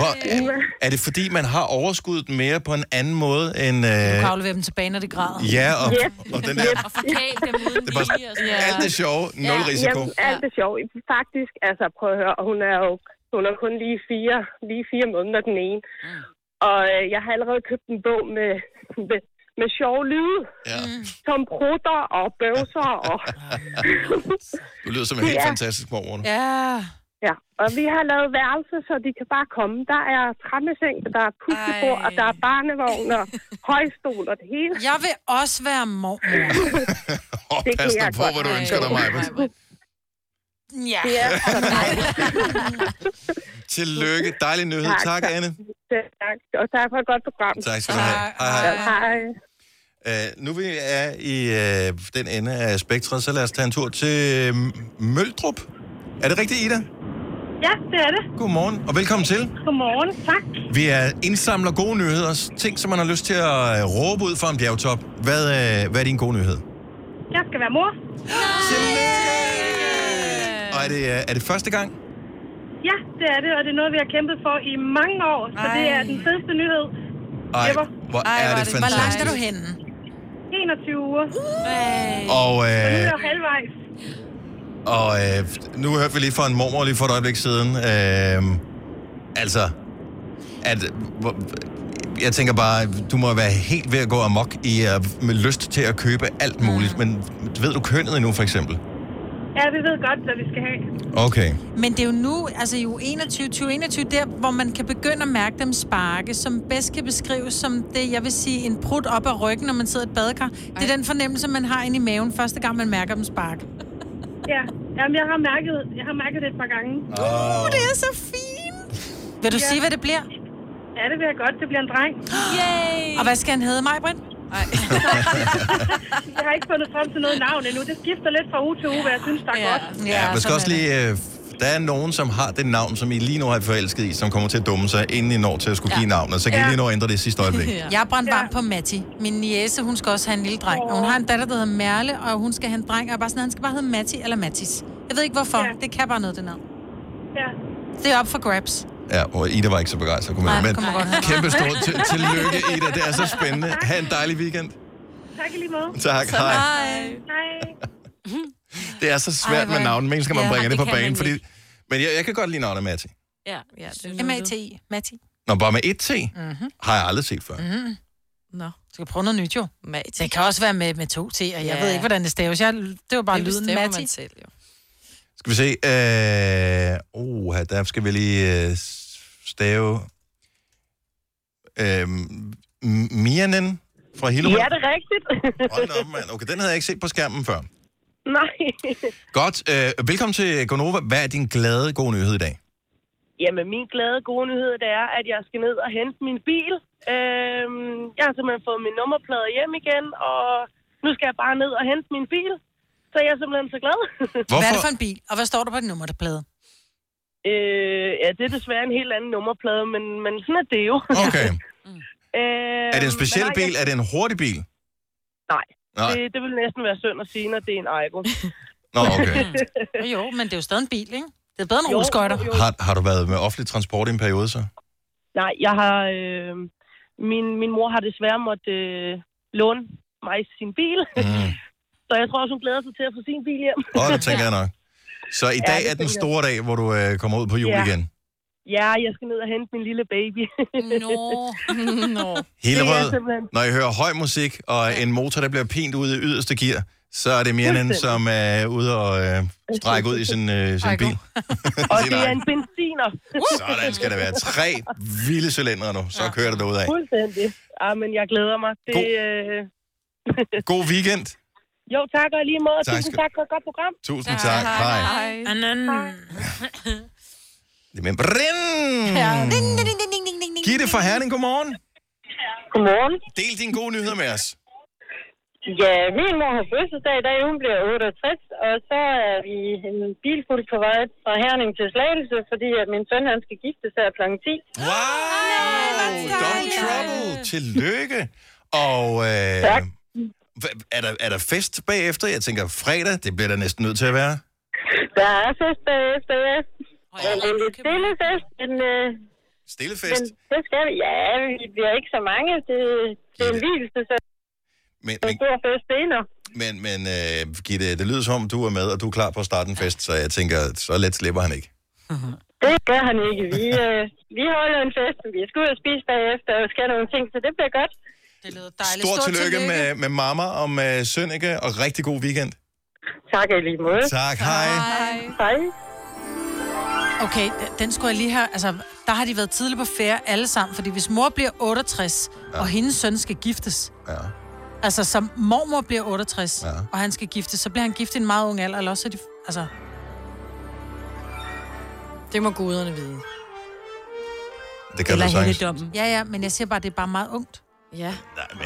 Hvor, er, er det fordi, man har overskuddet mere på en anden måde end... Du Øh, kan aflevere dem tilbage, når de græder. Ja, og- og den der- Og forkæle dem uden Det er bare- vilje og sådan noget. alt det sjove, nul risiko. Jamen, alt det sjove. Faktisk, altså prøv at høre, hun er jo hun er kun lige fire, lige fire måneder den ene. Mm. Og øh, jeg har allerede købt en bog med, med, med sjove lyde. Ja. Som prutter og bøvser og... du lyder som en helt Ja. fantastisk mormor. nu. ja. Ja, og vi har lavet værelser, så de kan bare komme. Der er træmmeseng, der er pustebord, og der er barnevogn og højstol og det hele. Jeg vil også være mormor. Øh, Åh, det kan Pas nu jeg på, godt hvad du forstå. ønsker dig, Majbert. Ja. Ja, så dejligt. Tillykke. Dejlig nyhed. Tak, Tak, tak. Anne. Selv Tak, og tak for et godt program. Tak skal du have. Hej, hej. Hej. Uh, nu vi er i uh, den ende af spektret, så lad os tage en tur til uh, Møldrup. Er det rigtigt, Ida? Ja, det er det. Godmorgen, og velkommen til. Godmorgen, tak. Vi er indsamler gode nyheder, ting, som man har lyst til at øh, råbe ud fra en bjergtop. Hvad, uh, hvad er din gode nyhed? Jeg skal være mor. Og er det, uh, er det første gang? Ja, det er det, og det er noget, vi har kæmpet for i mange år, så det er den fedeste nyhed. Ej, Ever. hvor er det fantastisk. henne? 21 uger. Ej. Og, øh, nu er jeg halvvejs. Og øh, nu hørte vi lige fra en mormor lige for et øjeblik siden. Øh, altså, at, hvor- jeg tænker bare, du må være helt ved at gå amok i, uh, med lyst til at købe alt Mm. muligt. Men ved du kønnet endnu, for eksempel? Ja, vi ved godt, hvad vi skal have. Okay. Men det er jo nu, altså i uge 21, 2021, der hvor man kan begynde at mærke dem sparke, som bedst kan beskrives som det, jeg vil sige, en prut op af ryggen, når man sidder i et badekar. Det er den fornemmelse, man har inde i maven, første gang man mærker dem sparke. Ja, Jamen, jeg har mærket, jeg har mærket det et par gange. Uh, det er så fint! Vil du sige, hvad det bliver? Ja, det vil jeg godt. Det bliver en dreng. Yay! Og hvad skal han hedde, Majbrit? Jeg har ikke fundet frem til noget navn endnu. Det skifter lidt fra uge til uge, hvad jeg synes, der er godt. Ja, man skal også lige... Øh, der er nogen, som har det navn, som I lige nu har forelsket i, som kommer til at dumme sig, inden I når til at skulle give navnet. Så kan I Ja. lige nå at ændre det i sidste øjeblik. Jeg er brændt varm på Matti. Min niece, hun skal også have en lille dreng. Og hun har en datter, der hedder Merle, og hun skal have en dreng. Og jeg er bare sådan, han skal bare hedde Matti eller Mattis. Jeg ved ikke hvorfor. Det kan bare noget, det navn. Ja. Det er op for grabs. Ja, og Ida var ikke så begejstret, kunne man. Nej, Men kunne man godt høre. kæmpe stort til- tillykke, Ida. Det er så spændende. Ha' en dejlig weekend. Tak i lige måde. Tak, Så hej. Hej. Det er så svært Ej, Ej, hvor med er- navn. Mennesker, man Ja, ja, bringer det det på kan man banen. Fordi... Men jeg, jeg kan godt lide navnet Matti. Ja, ja M-A-T-I. Matti. Nå, bare med et T Mhm. har jeg aldrig set før. Mm. Nå. Du skal prøve noget nyt jo. Mati. Det kan også være med, med to T, og jeg Ja. ved ikke, hvordan det staves. Jeg, det var bare Det lyden, bestemmer Matti. man selv, jo. Skal vi se. Øh, oh, der skal vi lige øh, stave. Øh, M- Mianen fra Hillerød. Ja, det er rigtigt. Hold da op, mand. Okay, den havde jeg ikke set på skærmen før. Nej. Godt. Øh, velkommen til Gonova. Hvad er din glade, gode nyhed i dag? Jamen, min glade gode nyhed, det er, at jeg skal ned og hente min bil. Øhm, jeg har simpelthen fået min nummerplade hjem igen, og nu skal jeg bare ned og hente min bil. Så jeg er simpelthen så glad. Hvad er det for en bil, og hvad står der på den nummerplade? Øh, ja, det er desværre en helt anden nummerplade, men, men sådan er det jo. Okay. øh, Er det en speciel bil? Er det en hurtig bil? Nej. Nej. Det, det vil næsten være synd at sige, når det er en Aigo. Nå, okay. Jo, jo, men det er jo stadig en bil, ikke? Det er bedre end Jo, rulleskøjter. jo, jo. Har, har du været med offentlig transport i en periode så? Nej, jeg har... Øh, min, min mor har desværre måtte øh, låne mig sin bil. Mm. Så jeg tror også, hun glæder sig til at få sin bil hjem. Åh, det tænker jeg nok. Så i Ja, dag det er den tænker jeg. store dag, hvor du øh, kommer ud på jul Ja. igen. Ja, jeg skal ned og hente min lille baby. Nå. Nå. Hillerød, når I hører høj musik og en motor, der bliver pint ude i yderste gear, så er det Mirnen, Fuldstændig. som er ude og øh, strække ud i sin, øh, sin bil. Og Sin det er egen. en benziner. Sådan skal det være. Tre vilde cylindre nu, så kører det derudad. Fuldstændig. Ja, men jeg glæder mig. Det, øh... God weekend. Jo, tak og i lige måde. Tak Tusind skal- tak for et godt program. Tusind tak. Hej. Det er med Brin. Mm. Gitte fra Herning, godmorgen. Godmorgen. Del dine gode nyheder med os. Ja, min mor har fødselsdag i dag. Hun bliver 68, og så er vi en bilfuld på vej fra Herning til Slagelse, fordi at min søn han skal gifte sig kl. 10. Wow! Double trouble. Øh. Tillykke. Og øh, Tak. hva- er, der, er der fest bagefter? Jeg tænker, fredag, det bliver der næsten nødt til at være. Der er fest bagefter, ja. Men det er en lidt stille fest, men... Øh, Stille Men fest. det skal vi. Ja, vi bliver ikke så mange. Det, det er en hvilelse, så Men, det er en stor fest senere. men, men øh, Gitte, det lyder som om, du er med, og du er klar på at starte en fest, så jeg tænker, så let slipper han ikke. Det gør han ikke. Vi, øh, vi holder en fest, og vi skal ud og spise bagefter og skal nogle ting, så det bliver godt. Stort, Stort tillykke, tillykke. Med, med mamma og med Sønneke, og rigtig god weekend. Tak i lige måde. Tak, hej. Hej. Okay, d- den skulle jeg lige have... Altså, der har de været tidligt på ferie alle sammen, fordi hvis mor bliver 68, ja. og hendes søn skal giftes... Ja. Altså, som mormor bliver 68, ja. og han skal giftes, så bliver han gift i en meget ung alder, eller også er de... Altså... Det må guderne vide. Det kan du sagtens. Ja, ja, men jeg siger bare, det er bare meget ungt. Ja.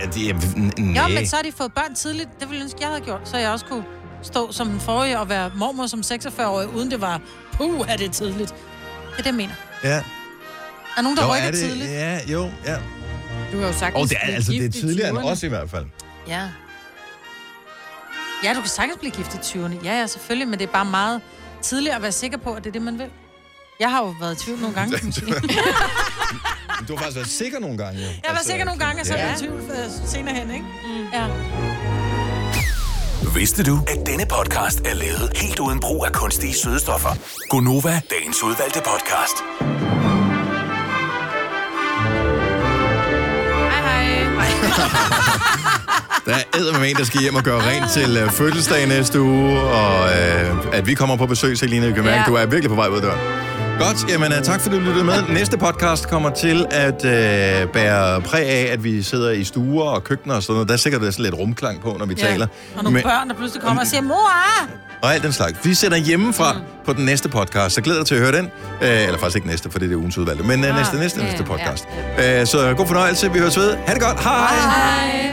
Men det er... n- Ja, næ. men så har de fået børn tidligt. Det ville jeg ønske, jeg havde gjort. Så jeg også kunne stå som den forrige og være mormor som 46-årig, uden det var, puh, er det tidligt. Det er det, jeg mener. Ja. Er nogen, der Nå, rykker er det- tidligt? Ja, jo, ja. Du har jo sagtens Og det er, blive altså, det er gift i tidligere end 20'erne. os i hvert fald. Ja. Ja, du kan sagtens blive gift i 20'erne. Ja, ja, selvfølgelig, men det er bare meget tidligt at være sikker på, at det er det, man vil. Jeg har jo været i tvivl nogle Altså, gange. Men Du har faktisk været sikker nogle gange. Altså, Jeg Jeg var sikker nogle gange, og så er jeg i tvivl øh, senere hen, ikke? Mm. Ja. Vidste du, at denne podcast er lavet helt uden brug af kunstige sødestoffer? Gonova, dagens udvalgte podcast. Der er med en, der skal hjem og gøre Ah. rent til øh, fødselsdag næste uge, og øh, at vi kommer på besøg, Selina, du kan mærke, Ja. du er virkelig på vej ud af døren. Godt, jamen øh, tak fordi du lyttede med. Næste podcast kommer til at øh, bære præg af, at vi sidder i stuer og køkkener og sådan noget. Der er sikkert sådan lidt rumklang på, når vi ja. taler. Og nogle børn, der pludselig kommer og siger, mor! og alt den slags. Vi sætter hjemmefra mm. på den næste podcast, så glæder dig til at høre den. Øh, eller faktisk ikke næste, for det er ugens udvalgte, men øh, Ah, næste, næste, ja, næste ja, podcast. Øh, så god fornøjelse, vi høres ved. Ha' det godt, hej! Hej!